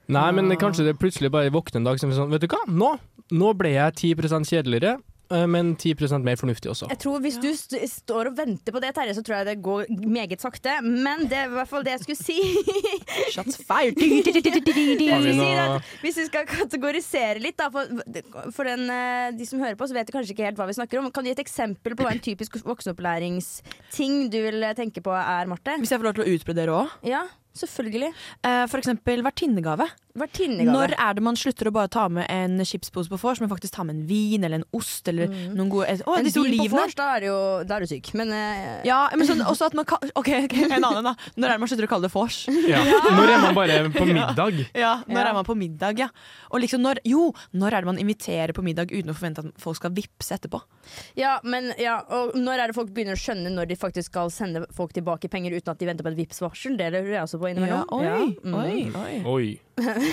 [SPEAKER 3] Nei, men kanskje det plutselig bare våkner en dag som er sånn Vet du hva, nå, nå ble jeg 10 kjedeligere, eh, men 10 mer fornuftig også.
[SPEAKER 5] Jeg tror Hvis du st står og venter på det, Terje, så tror jeg det går meget sakte. Men det er i hvert fall det jeg skulle si.
[SPEAKER 4] Shots fired!
[SPEAKER 5] Det jeg
[SPEAKER 3] Har vi
[SPEAKER 5] skulle si
[SPEAKER 3] noe-
[SPEAKER 5] er at hvis vi skal kategorisere litt, da, for, for den, eh, de som hører på, så vet de kanskje ikke helt hva vi snakker om. Kan du gi et eksempel på hva en typisk voksenopplæringsting du vil eh, tenke på er, Marte?
[SPEAKER 4] Hvis jeg får lov til å utbrodere òg?
[SPEAKER 5] Ja? Selvfølgelig.
[SPEAKER 4] Eh, for eksempel vertinnegave. Når
[SPEAKER 5] Vertinnegave.
[SPEAKER 4] er det man slutter å bare ta med en chipspose på vors, men faktisk ta med en vin eller en ost eller noen gode Å,
[SPEAKER 5] Mm. En
[SPEAKER 4] disse
[SPEAKER 5] bil på
[SPEAKER 4] olivene!
[SPEAKER 5] vors, da er du jo da er du syk. Men eh,
[SPEAKER 4] Ja, men sånn også at man ka- OK, ok, en annen, da. Når er det man slutter å kalle det vors?
[SPEAKER 3] Ja. Når er man bare på middag?
[SPEAKER 4] Ja, når
[SPEAKER 5] Ja.
[SPEAKER 4] er man på middag, ja. Og liksom når Jo, når er det man inviterer på middag uten å forvente at folk skal vippse etterpå?
[SPEAKER 5] ja, men ja, og når er det folk begynner å skjønne når de faktisk skal sende folk tilbake penger uten at de venter på et Vipps-varsel? Det lurer jeg også på innimellom.
[SPEAKER 4] oi,
[SPEAKER 5] mm.
[SPEAKER 4] oi, oi.
[SPEAKER 3] Oi.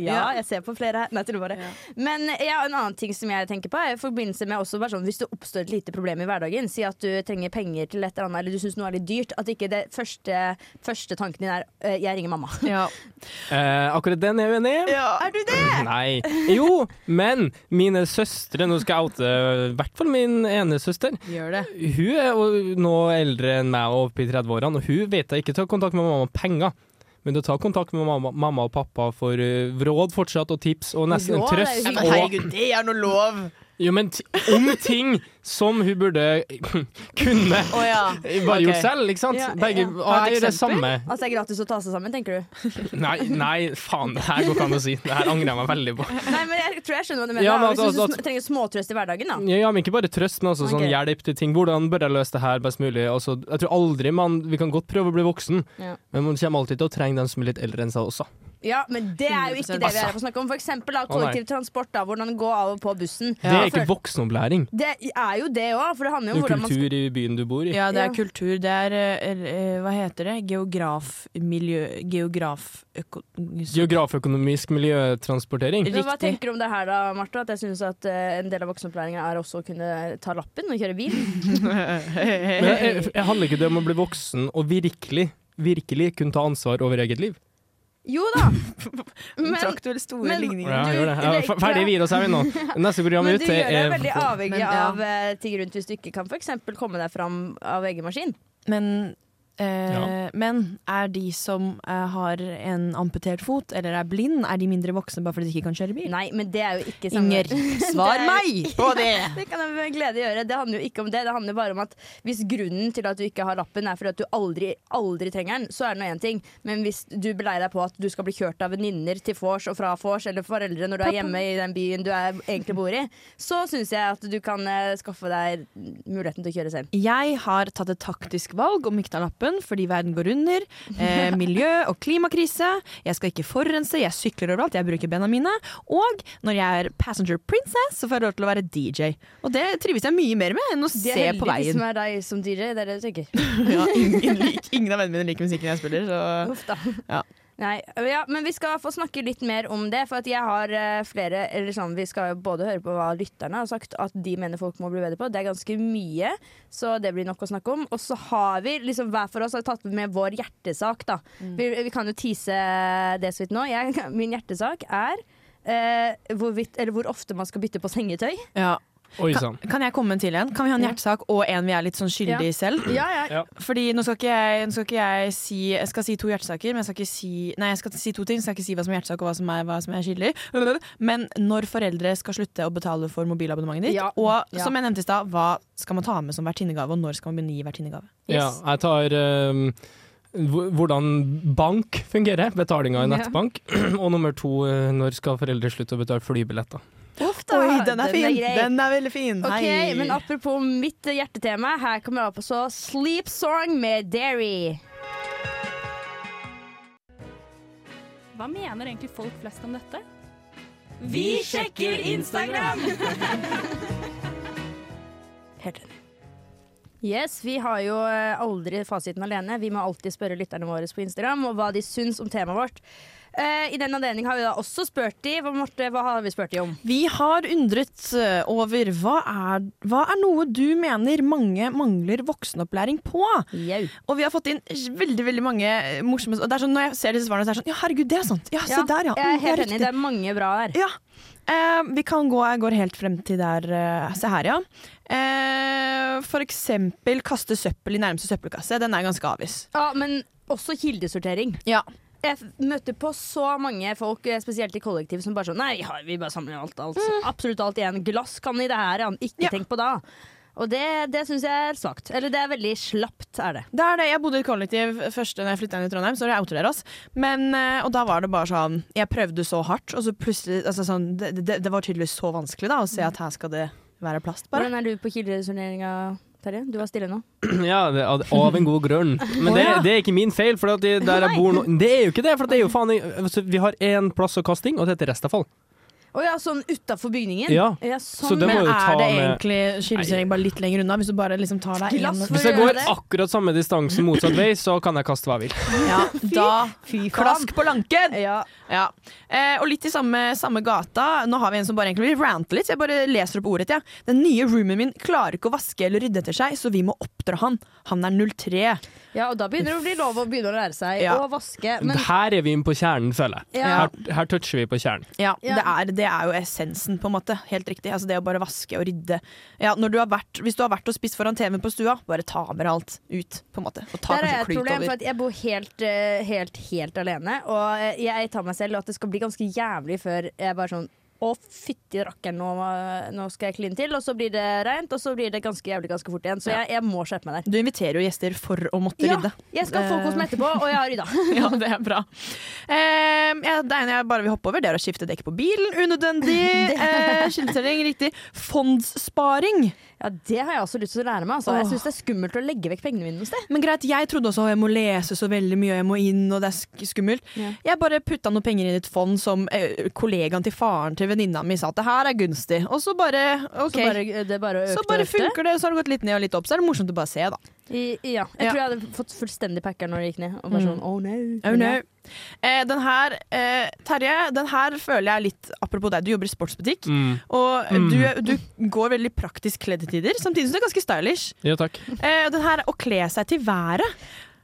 [SPEAKER 5] ja, jeg ser på flere her. Nei, til og bare. Men ja, en annen ting som jeg tenker på, er i forbindelse med også bare sånn, hvis det oppstår et lite problem i hverdagen, si at du trenger penger til et eller annet, eller du syns noe er litt dyrt, at ikke det første, første tanken din er eh, 'jeg ringer mamma'.
[SPEAKER 4] Ja.
[SPEAKER 3] Eh, akkurat den er jeg uenig i.
[SPEAKER 5] Er du det?!
[SPEAKER 3] Nei. Jo, men mine søstre Nå skal jeg oute i hvert fall min ene søster.
[SPEAKER 4] Gjør det.
[SPEAKER 3] Hun er jo nå eldre enn meg og oppe i 30-årene, og hun vet jeg ikke tar kontakt med mamma om penger. Men du tar kontakt med mamma, mamma og pappa for eh, råd fortsatt, og tips, og nesten en
[SPEAKER 5] Råd er jo
[SPEAKER 3] trøst.
[SPEAKER 5] hyggelig.
[SPEAKER 4] Men
[SPEAKER 3] og-
[SPEAKER 4] herregud, det er noe lov!
[SPEAKER 3] Jo, men ti- om ting som hun burde kunne
[SPEAKER 4] Å ja.
[SPEAKER 3] bare
[SPEAKER 4] Ok.
[SPEAKER 3] gjort selv, ikke sant?
[SPEAKER 5] Ja, ja, ja.
[SPEAKER 3] Begge
[SPEAKER 4] Har
[SPEAKER 3] ah,
[SPEAKER 4] du
[SPEAKER 3] det
[SPEAKER 4] et
[SPEAKER 3] er det
[SPEAKER 4] eksempel?
[SPEAKER 3] samme.
[SPEAKER 5] At det er gratis å ta seg sammen, tenker du?
[SPEAKER 3] Nei, nei, faen, det her går ikke an å si. Det her angrer jeg meg veldig på.
[SPEAKER 5] Nei, men jeg tror jeg skjønner hva du mener.
[SPEAKER 3] Ja,
[SPEAKER 5] da.
[SPEAKER 3] men
[SPEAKER 5] hvis du
[SPEAKER 3] at-
[SPEAKER 5] sm- trenger småtrøst i hverdagen, da.
[SPEAKER 3] Ja, ja, men ikke bare trøst, men også sånn
[SPEAKER 5] Ok.
[SPEAKER 3] hjelp til ting. Hvordan bør jeg løse det her best mulig? Altså, jeg tror aldri man Vi kan godt prøve å bli voksen,
[SPEAKER 5] Ja.
[SPEAKER 3] men man kommer alltid til å trenge den som er litt eldre enn seg også.
[SPEAKER 5] Ja, men det er jo ikke det vi
[SPEAKER 4] Altså.
[SPEAKER 5] er her for å snakke om. For eksempel da, kollektivtransport, da, hvordan gå av og på bussen.
[SPEAKER 3] Det er ikke voksenopplæring.
[SPEAKER 5] Det er jo det òg, for det handler jo om
[SPEAKER 3] En
[SPEAKER 5] hvordan man
[SPEAKER 3] kultur i byen du bor i.
[SPEAKER 4] Ja, det er
[SPEAKER 5] Ja.
[SPEAKER 4] kultur. Det er eh, eh, Hva heter det? Geografmiljø Geograf... Øko,
[SPEAKER 3] Geograføkonomisk miljøtransportering.
[SPEAKER 5] Men hva
[SPEAKER 4] Riktig.
[SPEAKER 5] tenker du om det her da, Martha? At jeg synes at eh, en del av voksenopplæringen er også å kunne ta lappen og kjøre bil?
[SPEAKER 3] Men jeg, jeg, jeg handler ikke det om å bli voksen og virkelig, virkelig kunne ta ansvar over eget liv.
[SPEAKER 5] Jo da! Men,
[SPEAKER 4] Trakk du vel store
[SPEAKER 5] men-
[SPEAKER 4] ligninger?
[SPEAKER 3] Ja,
[SPEAKER 5] Du-
[SPEAKER 3] jeg gjør det. Ja,
[SPEAKER 5] det-
[SPEAKER 3] fer- ferdig Viroshaugen nå. Neste program
[SPEAKER 5] men
[SPEAKER 3] ut
[SPEAKER 5] du gjør deg
[SPEAKER 3] er
[SPEAKER 5] veldig avhengig
[SPEAKER 4] Men, ja.
[SPEAKER 5] av eh, ting rundt hvis du ikke kan f.eks. komme deg fram av egen maskin.
[SPEAKER 4] Men, eh,
[SPEAKER 3] Ja.
[SPEAKER 4] men er de som eh, har en amputert fot eller er blind, er de mindre voksne bare fordi de ikke kan kjøre bil?
[SPEAKER 5] Nei, men det er jo ikke samme
[SPEAKER 4] Inger, svar
[SPEAKER 5] Det er-
[SPEAKER 4] meg på det!
[SPEAKER 5] Det kan jeg med glede gjøre. Det handler jo ikke om det. Det handler bare om at hvis grunnen til at du ikke har lappen er fordi at du aldri, aldri trenger den, så er det nå én ting. Men hvis du beleier deg på at du skal bli kjørt av venninner til vors og fra vors, eller foreldre når du er hjemme i den byen du er, egentlig bor i, så syns jeg at du kan eh, skaffe deg muligheten til å kjøre selv.
[SPEAKER 4] Jeg har tatt et taktisk valg om ikke å ta lappen fordi verden går under. Eh, miljø- og klimakrise. Jeg skal ikke forurense, jeg sykler overalt, jeg bruker bena mine. Og når jeg er passenger princess, så får jeg lov til å være DJ. Og det trives jeg mye mer med enn å
[SPEAKER 5] De
[SPEAKER 4] se
[SPEAKER 5] er heldige,
[SPEAKER 4] på
[SPEAKER 5] de som
[SPEAKER 4] veien.
[SPEAKER 5] er deg som DJ. Det er det du tenker.
[SPEAKER 4] Ja, ingen, lik- ingen av vennene mine liker musikken jeg spiller, så
[SPEAKER 5] Uff da.
[SPEAKER 4] Ja.
[SPEAKER 5] Nei, ja, men vi skal få snakke litt mer om det, for at jeg har eh, flere eller sånn, Vi skal jo både høre på hva lytterne har sagt at de mener folk må bli bedre på. Det er ganske mye, så det blir nok å snakke om. Og så har vi liksom hver for oss har tatt med vår hjertesak, da. Vi, vi kan jo tease det så vidt nå. Jeg, min hjertesak er eh, hvorvidt, eller hvor ofte man skal bytte på sengetøy.
[SPEAKER 4] ja.
[SPEAKER 3] Oi
[SPEAKER 4] Kan,
[SPEAKER 3] sann.
[SPEAKER 4] kan jeg komme med en til en? Kan vi ha en
[SPEAKER 5] Ja.
[SPEAKER 4] hjertesak og en vi er litt sånn skyldig i selv?
[SPEAKER 5] Ja, ja.
[SPEAKER 3] Ja.
[SPEAKER 4] Fordi nå skal ikke jeg, nå skal ikke jeg si Jeg skal si to hjertesaker, men jeg skal ikke si Nei, jeg skal si to ting. Jeg skal ikke si hva som er hjertesak og hva som er, hva som er skyldig. Men når foreldre skal slutte å betale for mobilabonnementet ditt,
[SPEAKER 5] Ja.
[SPEAKER 4] og
[SPEAKER 5] Ja.
[SPEAKER 4] som jeg nevnte i stad, hva skal man ta med som vertinnegave, og når skal man begynne å gi vertinnegave?
[SPEAKER 3] Ja, jeg tar ehm, hvor- hvordan bank fungerer, betalinga i
[SPEAKER 5] Ja.
[SPEAKER 3] nettbank. Og nummer to, eh, når skal foreldre slutte å betale flybilletter?
[SPEAKER 5] Uff grei.
[SPEAKER 4] er veldig fin!
[SPEAKER 5] Ok, men apropos mitt eh, hjertetema, her kommer jeg opp og så Sleep Song med Derry.
[SPEAKER 1] Hva mener egentlig folk flest om dette?
[SPEAKER 5] Vi sjekker Instagram! Helt enig. Yes, Vi har jo eh, aldri fasiten alene. Vi må alltid spørre lytterne våre på Instagram og hva de syns om temaet vårt. Eh, I den anledning har vi da også spurt de. Hva, Marte, hva har vi spurt de om?
[SPEAKER 4] Vi har undret eh, over hva er, hva er noe du mener mange mangler voksenopplæring på?
[SPEAKER 5] Jau.
[SPEAKER 4] Og vi har fått inn veldig veldig mange eh, morsomme Og det er sånn, Når jeg ser disse svarene, så er det sånn Ja, herregud, det er sant! Ja, se der, ja.
[SPEAKER 5] Jeg er
[SPEAKER 4] Mm, det er
[SPEAKER 5] helt enig.
[SPEAKER 4] riktig.
[SPEAKER 5] Det er mange bra her.
[SPEAKER 4] Ja. Eh, vi kan gå Jeg går helt frem til der eh, Se her, ja. Eh, for eksempel kaste søppel i nærmeste søppelkasse. Den er ganske avis.
[SPEAKER 5] Ja, Men også kildesortering.
[SPEAKER 4] Ja.
[SPEAKER 5] Jeg f- møter på så mange folk, eh, spesielt i kollektiv, som bare sånn Nei, vi har- vi bare samler alt. alt. Absolutt alt igjen. Glass kan i det her, ja. Ikke
[SPEAKER 4] Mm. Ja.
[SPEAKER 5] tenk på det. Og det, det syns jeg er svakt. Eller det er veldig slapt, er det.
[SPEAKER 4] Det er det. Jeg bodde i et kollektiv først da jeg flytta inn i Trondheim, så jeg outer dere oss. Men, eh, og da var det bare sånn Jeg prøvde så hardt, og så plutselig altså sånn, det, det, det var tydeligvis så vanskelig da å se at her skal det være plast, bare.
[SPEAKER 5] Hvordan er du på kilderesonneringa, Terje? Du var stille nå.
[SPEAKER 3] Ja, det, av, av en god grunn. Men det, det er ikke min feil, for at det, der jeg bor nå Det er jo ikke det! For det er jo faen altså, Vi har én plass å kaste ting, og det heter restavfall.
[SPEAKER 5] Å ja, sånn utafor bygningen?
[SPEAKER 3] Ja.
[SPEAKER 5] sånn.
[SPEAKER 3] Så det må
[SPEAKER 5] Men
[SPEAKER 3] jo ta
[SPEAKER 4] Er det
[SPEAKER 3] med
[SPEAKER 4] egentlig skilleserien bare litt lenger unna, hvis du bare liksom tar deg
[SPEAKER 5] Glass
[SPEAKER 4] en-
[SPEAKER 5] for-
[SPEAKER 3] Hvis jeg går
[SPEAKER 5] Gjør det.
[SPEAKER 3] akkurat samme distansen motsatt vei, så kan jeg kaste hva jeg vil.
[SPEAKER 4] Ja, da
[SPEAKER 5] Fy faen.
[SPEAKER 4] Klask på lanken!
[SPEAKER 5] Ja.
[SPEAKER 4] Ja. Eh, og litt i samme, samme gata. Nå har vi en som bare egentlig vil rante litt. så Jeg bare leser opp ordet. Ja. Den nye roomien min klarer ikke å vaske eller rydde etter seg, så vi må oppdra han. Han er 03.
[SPEAKER 5] ja, og da begynner det å bli lov å begynne å lære seg
[SPEAKER 4] Ja.
[SPEAKER 5] å vaske. Men
[SPEAKER 3] Her er vi inne på kjernen, føler jeg.
[SPEAKER 5] Ja.
[SPEAKER 3] Her, her toucher vi på kjernen.
[SPEAKER 4] Ja,
[SPEAKER 5] Ja.
[SPEAKER 4] Det, er, det er jo essensen, på en måte. Helt riktig. Altså, det å bare vaske og rydde. Ja, når du har vært, hvis du har vært og spist foran TV-en på stua, bare ta med alt ut. På en måte. Og ta
[SPEAKER 5] Der er
[SPEAKER 4] kanskje
[SPEAKER 5] jeg et
[SPEAKER 4] klyt
[SPEAKER 5] problem, for
[SPEAKER 4] over.
[SPEAKER 5] at jeg bor helt, eh, helt, helt alene. Og eh, jeg tar meg selv og at det skal bli ganske jævlig før jeg bare sånn Å, fytti rakkeren, nå, eh, nå skal jeg kline til. Og så blir det reint, og så blir det ganske jævlig ganske fort igjen. Så jeg, jeg må skjerpe meg der.
[SPEAKER 4] Du inviterer jo gjester for å måtte
[SPEAKER 5] Ja,
[SPEAKER 4] rydde.
[SPEAKER 5] jeg skal ha folk hos meg etterpå, og jeg har rydda.
[SPEAKER 4] Ja, det er bra. Eh, ja, det ene jeg bare vil hoppe over, det er å skifte dekk på bilen. Unødvendig. Uh, Skiltelling, riktig. Fondssparing.
[SPEAKER 5] Ja, det har jeg også lyst til å lære meg. Altså. Jeg syns det er skummelt å legge vekk pengene mine noe sted.
[SPEAKER 4] Men greit, jeg trodde også at jeg må lese så veldig mye, jeg må inn, og det er sk- skummelt.
[SPEAKER 5] Ja.
[SPEAKER 4] Jeg bare putta noen penger inn i et fond som eh, kollegaen til faren til venninna mi sa at det her er gunstig. Og så bare OK.
[SPEAKER 5] Så bare, det er bare økte
[SPEAKER 4] Så
[SPEAKER 5] og
[SPEAKER 4] bare
[SPEAKER 5] økte.
[SPEAKER 4] funker det, og så har det gått litt ned og litt opp. Så er det morsomt å bare se, da.
[SPEAKER 5] I, ja. Jeg
[SPEAKER 4] Ja.
[SPEAKER 5] tror jeg hadde fått fullstendig packer når det gikk ned. Og bare sånn, oh no.
[SPEAKER 4] Oh, no. eh, den her, eh, Terje, den her føler jeg litt Apropos deg, du jobber i sportsbutikk.
[SPEAKER 3] Mm.
[SPEAKER 4] Og du, du går veldig praktisk kledd til tider, samtidig som du er ganske stylish.
[SPEAKER 3] Ja, takk.
[SPEAKER 4] Eh, og den her å kle seg til været.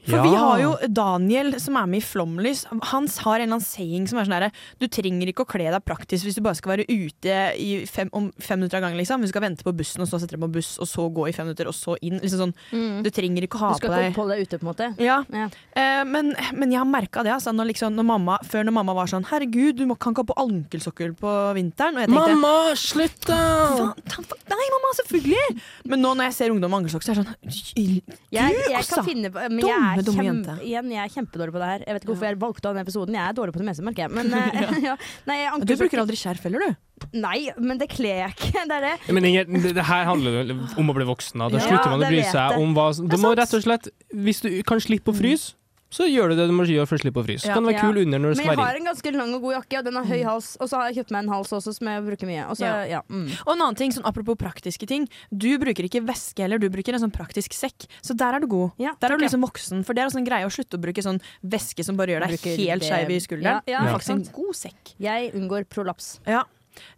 [SPEAKER 4] For
[SPEAKER 3] Ja.
[SPEAKER 4] vi har jo Daniel som er med i Flomlys. Han har en eller annen saying som er sånn herre Du trenger ikke å kle deg praktisk hvis du bare skal være ute i fem, om fem minutter av gangen. Liksom. Du skal vente på bussen, og så sette deg på buss, og så gå i fem minutter, og så inn. Liksom sånn. Du trenger ikke å
[SPEAKER 5] Mm. Du
[SPEAKER 4] ha
[SPEAKER 5] skal
[SPEAKER 4] på
[SPEAKER 5] ikke
[SPEAKER 4] deg
[SPEAKER 5] oppholde deg ute, på en måte.
[SPEAKER 4] ja.
[SPEAKER 5] Ja.
[SPEAKER 4] Eh, men, men jeg har merka det. Altså, når liksom, når mamma, før når mamma var sånn 'Herregud, du må, kan ikke ha på ankelsokkel på vinteren.' Og jeg tenkte
[SPEAKER 3] slutt,
[SPEAKER 4] Faen, ta- fa- Nei, mamma, selvfølgelig! Men nå når jeg ser ungdom med ankelsokk, så er jeg sånn
[SPEAKER 5] Jeg,
[SPEAKER 4] Du,
[SPEAKER 5] jeg
[SPEAKER 4] altså!
[SPEAKER 5] kan finne på Men jeg
[SPEAKER 4] Dumme,
[SPEAKER 5] er,
[SPEAKER 4] dumme
[SPEAKER 5] kjempe,
[SPEAKER 4] jente.
[SPEAKER 5] igjen, jeg er kjempedårlig på det her. Jeg vet ikke hvorfor jeg valgte av den episoden. Jeg er dårlig på det meste, merker jeg. Men, eh, ja. Nei, jeg
[SPEAKER 4] Du
[SPEAKER 5] anker
[SPEAKER 4] bruker aldri skjerf heller, du.
[SPEAKER 5] Nei, men det kler jeg ikke. Det er det.
[SPEAKER 3] Men Inger, det, det her handler jo om å bli voksen. Da, da
[SPEAKER 5] Ja,
[SPEAKER 3] slutter man å
[SPEAKER 5] det
[SPEAKER 3] bry
[SPEAKER 5] vet
[SPEAKER 3] seg
[SPEAKER 5] jeg.
[SPEAKER 3] om hva
[SPEAKER 5] Det
[SPEAKER 3] Du
[SPEAKER 5] er
[SPEAKER 3] må
[SPEAKER 5] sant. Mm.
[SPEAKER 3] rett og slett Hvis du kan slippe å fryse, så gjør du det du må gjøre for å slippe å fryse.
[SPEAKER 4] Ja.
[SPEAKER 3] Kan være
[SPEAKER 5] Ja.
[SPEAKER 3] kul under når du
[SPEAKER 5] Men
[SPEAKER 3] skal
[SPEAKER 5] jeg
[SPEAKER 3] være
[SPEAKER 5] har en ganske lang og god jakke, og den har høy hals. Og så har jeg kjøpt meg en hals også, som jeg bruker mye. Og så,
[SPEAKER 4] Mm. Ja.
[SPEAKER 5] ja. Mm.
[SPEAKER 4] Og en annen ting, sånn apropos praktiske ting. Du bruker ikke veske heller, du bruker en sånn praktisk sekk. Så der er du god.
[SPEAKER 5] Ja,
[SPEAKER 4] der er
[SPEAKER 5] takk,
[SPEAKER 4] du
[SPEAKER 5] ja.
[SPEAKER 4] liksom voksen. For det er også en greie å slutte å bruke sånn væske som bare gjør deg
[SPEAKER 5] Bruker
[SPEAKER 4] helt
[SPEAKER 5] det-
[SPEAKER 4] skeiv i
[SPEAKER 5] Ja, ja,
[SPEAKER 4] skulderen. Det er
[SPEAKER 5] ikke
[SPEAKER 4] faktisk en
[SPEAKER 5] sant.
[SPEAKER 4] god sekk.
[SPEAKER 5] Jeg unngår prolaps.
[SPEAKER 4] Ja.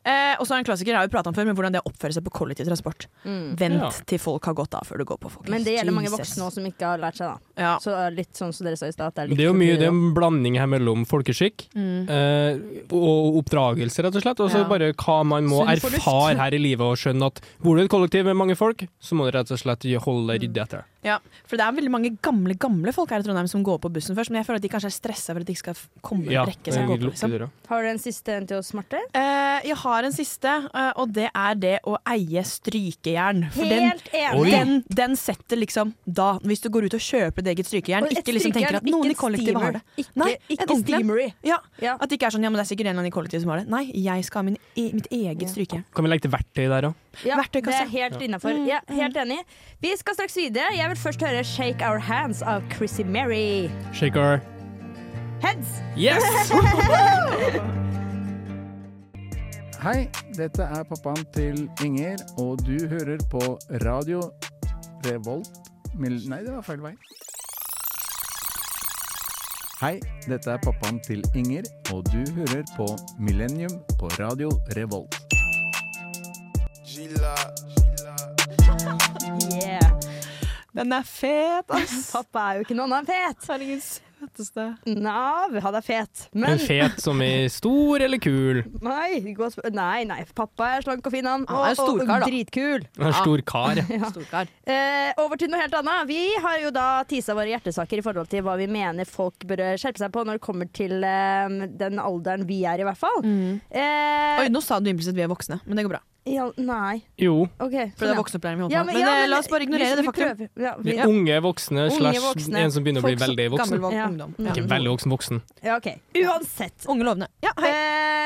[SPEAKER 4] Eh, og så er det en klassiker, jeg har jo pratet om før, men hvordan det er å oppføre seg på kollektivtransport. Vent
[SPEAKER 3] Ja.
[SPEAKER 4] til folk har gått av før du går på, folkens.
[SPEAKER 5] Mm. Men det gjelder mange
[SPEAKER 4] Jesus.
[SPEAKER 5] voksne også som ikke har lært seg, da.
[SPEAKER 4] Ja.
[SPEAKER 5] Så eh, litt sånn som dere sa i stad. at litt
[SPEAKER 3] Det er jo mye, det er
[SPEAKER 5] kultur,
[SPEAKER 3] en blanding her mellom folkeskikk
[SPEAKER 5] Mm.
[SPEAKER 3] eh, og oppdragelse, rett og slett. Og så
[SPEAKER 4] Ja.
[SPEAKER 3] bare hva man må
[SPEAKER 5] Sunn fornuft.
[SPEAKER 3] erfare her i livet og skjønne at bor du i et kollektiv med mange folk, så må du rett og slett holde deg ryddig etter.
[SPEAKER 4] Ja, for det er veldig mange gamle gamle folk her i Trondheim som går på bussen først, men jeg føler at de kanskje er stressa for at de ikke skal f- komme
[SPEAKER 3] Ja,
[SPEAKER 4] rekke seg å gå på.
[SPEAKER 3] lukke
[SPEAKER 4] Liksom.
[SPEAKER 3] døra.
[SPEAKER 5] og- Har du en siste en til oss, Marte?
[SPEAKER 4] Eh, jeg har en siste, eh, og det er det å eie strykejern. For den,
[SPEAKER 5] Helt enig!
[SPEAKER 4] den, den setter liksom da, hvis du går ut og kjøper ditt eget strykejern.
[SPEAKER 5] Og et
[SPEAKER 4] Ikke liksom tenker
[SPEAKER 5] strykejern,
[SPEAKER 4] at noen
[SPEAKER 5] ikke
[SPEAKER 4] i kollektivet har
[SPEAKER 5] steamer.
[SPEAKER 4] det.
[SPEAKER 5] Ikke,
[SPEAKER 4] Nei,
[SPEAKER 5] ikke
[SPEAKER 4] en ordentlig en.
[SPEAKER 5] steamery.
[SPEAKER 4] Ja,
[SPEAKER 5] Ja.
[SPEAKER 4] At det ikke er sånn ja, men det er sikkert en eller annen i kollektivet som har det. Nei, jeg skal ha min e mitt eget strykejern.
[SPEAKER 3] Kan vi legge til verktøy der òg?
[SPEAKER 5] Ja, det
[SPEAKER 4] Verktøykasse. Mm.
[SPEAKER 5] er helt innafor. Ja, helt enig. Vi skal straks videre. Jeg vil først høre 'Shake Our Hands' av Chrissy Mary.
[SPEAKER 3] Shaker.
[SPEAKER 5] Heads!
[SPEAKER 3] Yes!
[SPEAKER 10] Hei, dette er pappaen til Inger, og du hører på Radio Revolt. Mil- Nei, det var feil vei. Hei, dette er pappaen til Inger, og du hører på Millennium på Radio Revolt.
[SPEAKER 5] Yeah.
[SPEAKER 4] Den er fet, ass!
[SPEAKER 5] Pappa er jo ikke noen annen fet.
[SPEAKER 4] Herregud, søteste.
[SPEAKER 5] Nav, han er fet. Men
[SPEAKER 3] En fet som er stor eller kul.
[SPEAKER 5] nei, godt sp- nei, nei. Pappa er slank og fin, han.
[SPEAKER 4] Han er
[SPEAKER 5] Og- og-
[SPEAKER 4] storkar, da.
[SPEAKER 5] og Dritkul.
[SPEAKER 3] En stor kar. ja.
[SPEAKER 4] Storkar.
[SPEAKER 5] Eh, over til noe helt annet. Vi har jo da tisa våre hjertesaker i forhold til hva vi mener folk bør eh, skjerpe seg på når det kommer til eh, den alderen vi er i, hvert fall. Eh,
[SPEAKER 4] Mm. Oi, nå sa du impulsivt vi er voksne, men det går bra.
[SPEAKER 5] Ja, nei.
[SPEAKER 3] Jo.
[SPEAKER 5] OK.
[SPEAKER 4] For det
[SPEAKER 5] sånn,
[SPEAKER 4] er
[SPEAKER 5] ja.
[SPEAKER 4] voksenopplæring vi holder
[SPEAKER 5] Ja,
[SPEAKER 4] på
[SPEAKER 5] men-
[SPEAKER 4] med. Men,
[SPEAKER 5] ja,
[SPEAKER 4] eh,
[SPEAKER 5] men
[SPEAKER 4] la oss bare ignorere
[SPEAKER 5] hvis
[SPEAKER 4] det
[SPEAKER 5] vi
[SPEAKER 4] faktum.
[SPEAKER 5] prøver- Ja, vi, ja.
[SPEAKER 3] Unge voksne
[SPEAKER 5] Unge
[SPEAKER 3] slash
[SPEAKER 5] voksne.
[SPEAKER 3] en som begynner å bli
[SPEAKER 4] Folk som-
[SPEAKER 3] veldig voksen.
[SPEAKER 4] Gammel vok-
[SPEAKER 5] Ja.
[SPEAKER 4] ungdom.
[SPEAKER 5] Mm.
[SPEAKER 3] Ikke veldig voksen voksen.
[SPEAKER 5] OK. Uansett.
[SPEAKER 4] Unge lovende. Ja, hei.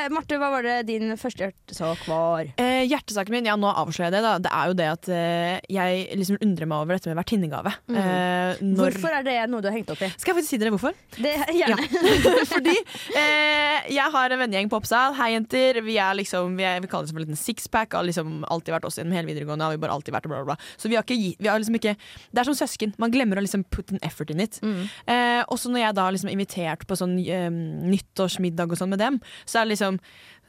[SPEAKER 5] Eh, Marte, hva var det din første hjertesak var?
[SPEAKER 4] Eh, hjertesaken min, ja nå avslører jeg det, da. Det er jo det at eh, jeg liksom undrer meg over dette med vertinnegave. Eh, når
[SPEAKER 5] Mm. Hvorfor er det noe du har hengt opp i?
[SPEAKER 4] Skal jeg faktisk si dere hvorfor?
[SPEAKER 5] Det, gjerne.
[SPEAKER 4] Fordi eh, jeg har en vennegjeng på Oppsal. Hei, jenter. Vi, er liksom, vi, er, vi kaller det som en liten sixpack. Har liksom alltid vært oss gjennom hele videregående. Har vi bare alltid vært bla, bla, bla. Så vi har ikke, gi- vi har liksom ikke Det er som søsken. Man glemmer å liksom put an effort in it.
[SPEAKER 5] Mm.
[SPEAKER 4] Eh, også når jeg da har liksom invitert på sånn eh, nyttårsmiddag og sånn med dem, så er det liksom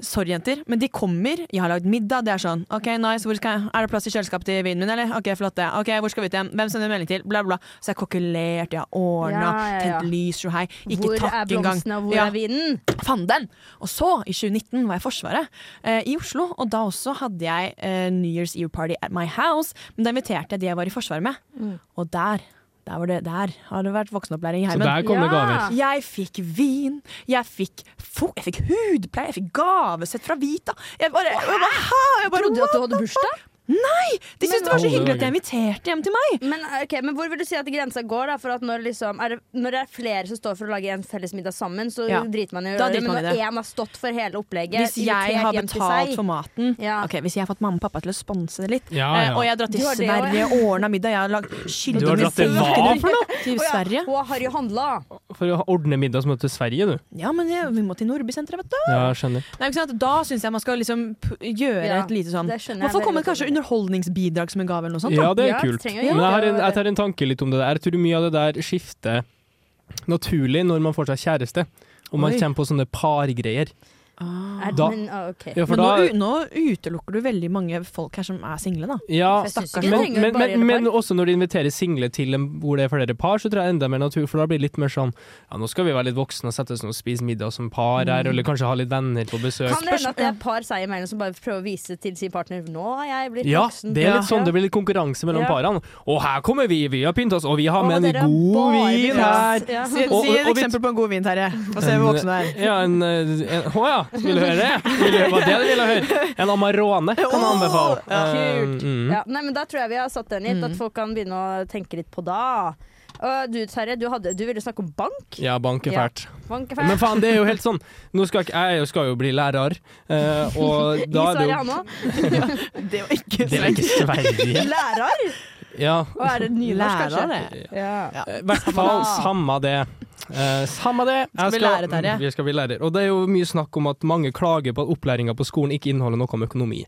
[SPEAKER 4] Sorry, jenter, men de kommer. Jeg har lagd middag. Det er sånn OK, nice. Hvor skal jeg? Er det plass i kjøleskapet til vinen min, eller? OK, flott det. Ok, Hvor skal vi ut igjen? Hvem sender melding til? Bla, bla. Så jeg har kokkelert, jeg har ordna,
[SPEAKER 5] Ja, ja, ja.
[SPEAKER 4] tent lys, jo hei. Ikke
[SPEAKER 5] hvor er
[SPEAKER 4] takk engang.
[SPEAKER 5] blomstene, og hvor
[SPEAKER 4] Ja,
[SPEAKER 5] er vinen?
[SPEAKER 4] fanden! Og så, i 2019, var jeg i Forsvaret eh, i Oslo. Og da også hadde jeg eh, New Year's Eve party at my house. Men da inviterte jeg de jeg var i Forsvaret med.
[SPEAKER 5] Mm.
[SPEAKER 4] Og der, der, var det, der har det vært voksenopplæring i
[SPEAKER 3] Så
[SPEAKER 4] heimen.
[SPEAKER 3] der kom det
[SPEAKER 5] Ja.
[SPEAKER 3] gaver.
[SPEAKER 4] Jeg fikk vin, jeg fikk, fo jeg fikk hudpleie, jeg fikk gavesett fra Vita. Jeg bare, jeg bare, hæ? jeg bare
[SPEAKER 5] Trodde du at du hadde bursdag?
[SPEAKER 4] De syntes det var
[SPEAKER 3] Å,
[SPEAKER 4] så
[SPEAKER 3] det var
[SPEAKER 4] hyggelig at jeg
[SPEAKER 3] gøy.
[SPEAKER 4] inviterte hjem til meg.
[SPEAKER 5] Men, eh, ok, men hvor vil du si at grensa går? da? For at når, liksom, er det, når det er flere som står for å lage en felles middag sammen, så
[SPEAKER 4] Ja.
[SPEAKER 5] driter man i å
[SPEAKER 4] Da
[SPEAKER 5] gjøre det.
[SPEAKER 4] driter
[SPEAKER 5] Men
[SPEAKER 4] man i
[SPEAKER 5] når
[SPEAKER 4] det.
[SPEAKER 5] én har stått for hele opplegget
[SPEAKER 4] Hvis jeg har betalt for maten
[SPEAKER 5] Ja.
[SPEAKER 4] Ok, Hvis jeg har fått mamma og pappa til å sponse det litt,
[SPEAKER 3] Ja,
[SPEAKER 4] eh,
[SPEAKER 3] ja.
[SPEAKER 4] og jeg har dratt til
[SPEAKER 5] Du har det også,
[SPEAKER 4] Sverige
[SPEAKER 5] ja.
[SPEAKER 4] og ordna middag Jeg har lagd kylling
[SPEAKER 3] Du har
[SPEAKER 4] med
[SPEAKER 3] dratt til hva
[SPEAKER 4] sider
[SPEAKER 3] for noe?
[SPEAKER 4] Til
[SPEAKER 5] Å ja,
[SPEAKER 4] Sverige.
[SPEAKER 5] Og Harry handla!
[SPEAKER 3] For å ordne middag som er til Sverige, du.
[SPEAKER 4] Ja, men jeg, vi må til Nordbysenteret, vet du.
[SPEAKER 3] Ja, jeg skjønner.
[SPEAKER 4] Nei, ikke sant? Da syns jeg man skal liksom p gjøre
[SPEAKER 5] Ja,
[SPEAKER 4] et lite sånn
[SPEAKER 5] det skjønner jeg
[SPEAKER 4] Man får
[SPEAKER 5] veldig
[SPEAKER 4] komme
[SPEAKER 5] godt
[SPEAKER 4] kanskje
[SPEAKER 5] over.
[SPEAKER 4] underholdningsbidrag som en gave eller noe sånt.
[SPEAKER 3] Ja, det er
[SPEAKER 5] Ja,
[SPEAKER 3] kult.
[SPEAKER 5] trenger
[SPEAKER 3] Men
[SPEAKER 5] jo
[SPEAKER 3] jeg,
[SPEAKER 5] ikke
[SPEAKER 3] har en,
[SPEAKER 5] å-
[SPEAKER 3] jeg tar en tanke litt om det der. Jeg tror mye av det der skifter naturlig når man får seg kjæreste. Og man
[SPEAKER 4] Oi.
[SPEAKER 3] kommer på sånne pargreier.
[SPEAKER 5] Er-
[SPEAKER 3] Da-
[SPEAKER 5] Men, ah, ok.
[SPEAKER 3] Ja, for
[SPEAKER 4] men nå,
[SPEAKER 3] da,
[SPEAKER 4] u- nå utelukker du veldig mange folk her som er single, da.
[SPEAKER 3] ja,
[SPEAKER 5] Jeg synes ikke
[SPEAKER 4] stakkars.
[SPEAKER 5] det
[SPEAKER 3] men,
[SPEAKER 5] trenger
[SPEAKER 3] men,
[SPEAKER 5] bare
[SPEAKER 3] men,
[SPEAKER 5] gjelde
[SPEAKER 3] men
[SPEAKER 5] par.
[SPEAKER 3] også når de inviterer single til en, hvor det er flere par, så tror jeg enda mer natur, for da blir det litt mer sånn ja, nå skal vi være litt voksne og sette oss ned og spise middag som par
[SPEAKER 5] Mm.
[SPEAKER 3] her, eller kanskje ha litt venner på besøk.
[SPEAKER 5] Kan det hende at det er et par seg imellom som bare prøver å vise til sin partner Nå er jeg blitt
[SPEAKER 3] Ja,
[SPEAKER 5] voksen.
[SPEAKER 3] det er litt
[SPEAKER 5] Ja.
[SPEAKER 3] sånn, det blir litt konkurranse mellom
[SPEAKER 5] Ja.
[SPEAKER 3] parene. Og her kommer vi, vi har pynta oss, og vi har
[SPEAKER 5] Å,
[SPEAKER 3] med en
[SPEAKER 5] dere har
[SPEAKER 3] god
[SPEAKER 5] bare
[SPEAKER 3] vin her.
[SPEAKER 5] blitt- Ja.
[SPEAKER 4] Si,
[SPEAKER 3] Og-
[SPEAKER 4] si
[SPEAKER 3] og-
[SPEAKER 4] et
[SPEAKER 3] og vi-
[SPEAKER 4] eksempel på en god vin, Terje. Og se hvor voksen du er.
[SPEAKER 3] Ja, en, eh, en Å ja, vil du høre det? Vil du, hva det du ville høre? En Amarone kan jeg anbefale.
[SPEAKER 5] kult.
[SPEAKER 3] Um, mm.
[SPEAKER 5] Ja, nei, men da tror jeg vi har satt den hit, at folk kan begynne å tenke litt på da. Og du Terje, du, hadde, du ville snakke om bank.
[SPEAKER 3] Ja, bank er
[SPEAKER 5] Ja.
[SPEAKER 3] fælt.
[SPEAKER 5] bank er
[SPEAKER 3] Men
[SPEAKER 5] fælt.
[SPEAKER 3] faen, det er jo helt sånn Nå skal ikke, Jeg skal jo bli lærer, eh, og da er
[SPEAKER 5] I
[SPEAKER 3] det
[SPEAKER 5] Sverige,
[SPEAKER 3] jo
[SPEAKER 5] han òg.
[SPEAKER 4] Det var ikke
[SPEAKER 3] Det er ikke Sverige.
[SPEAKER 5] Lærer!
[SPEAKER 3] Ja, eh,
[SPEAKER 5] Og er det nynorsk, kanskje?
[SPEAKER 4] Lærer, det.
[SPEAKER 5] Ja.
[SPEAKER 3] i hvert fall samme det. Eh, samme det. Jeg
[SPEAKER 4] bli lærer, Terje.
[SPEAKER 3] vi skal bli lærer. Og det er jo mye snakk om at mange klager på at opplæringa på skolen ikke inneholder noe om økonomi.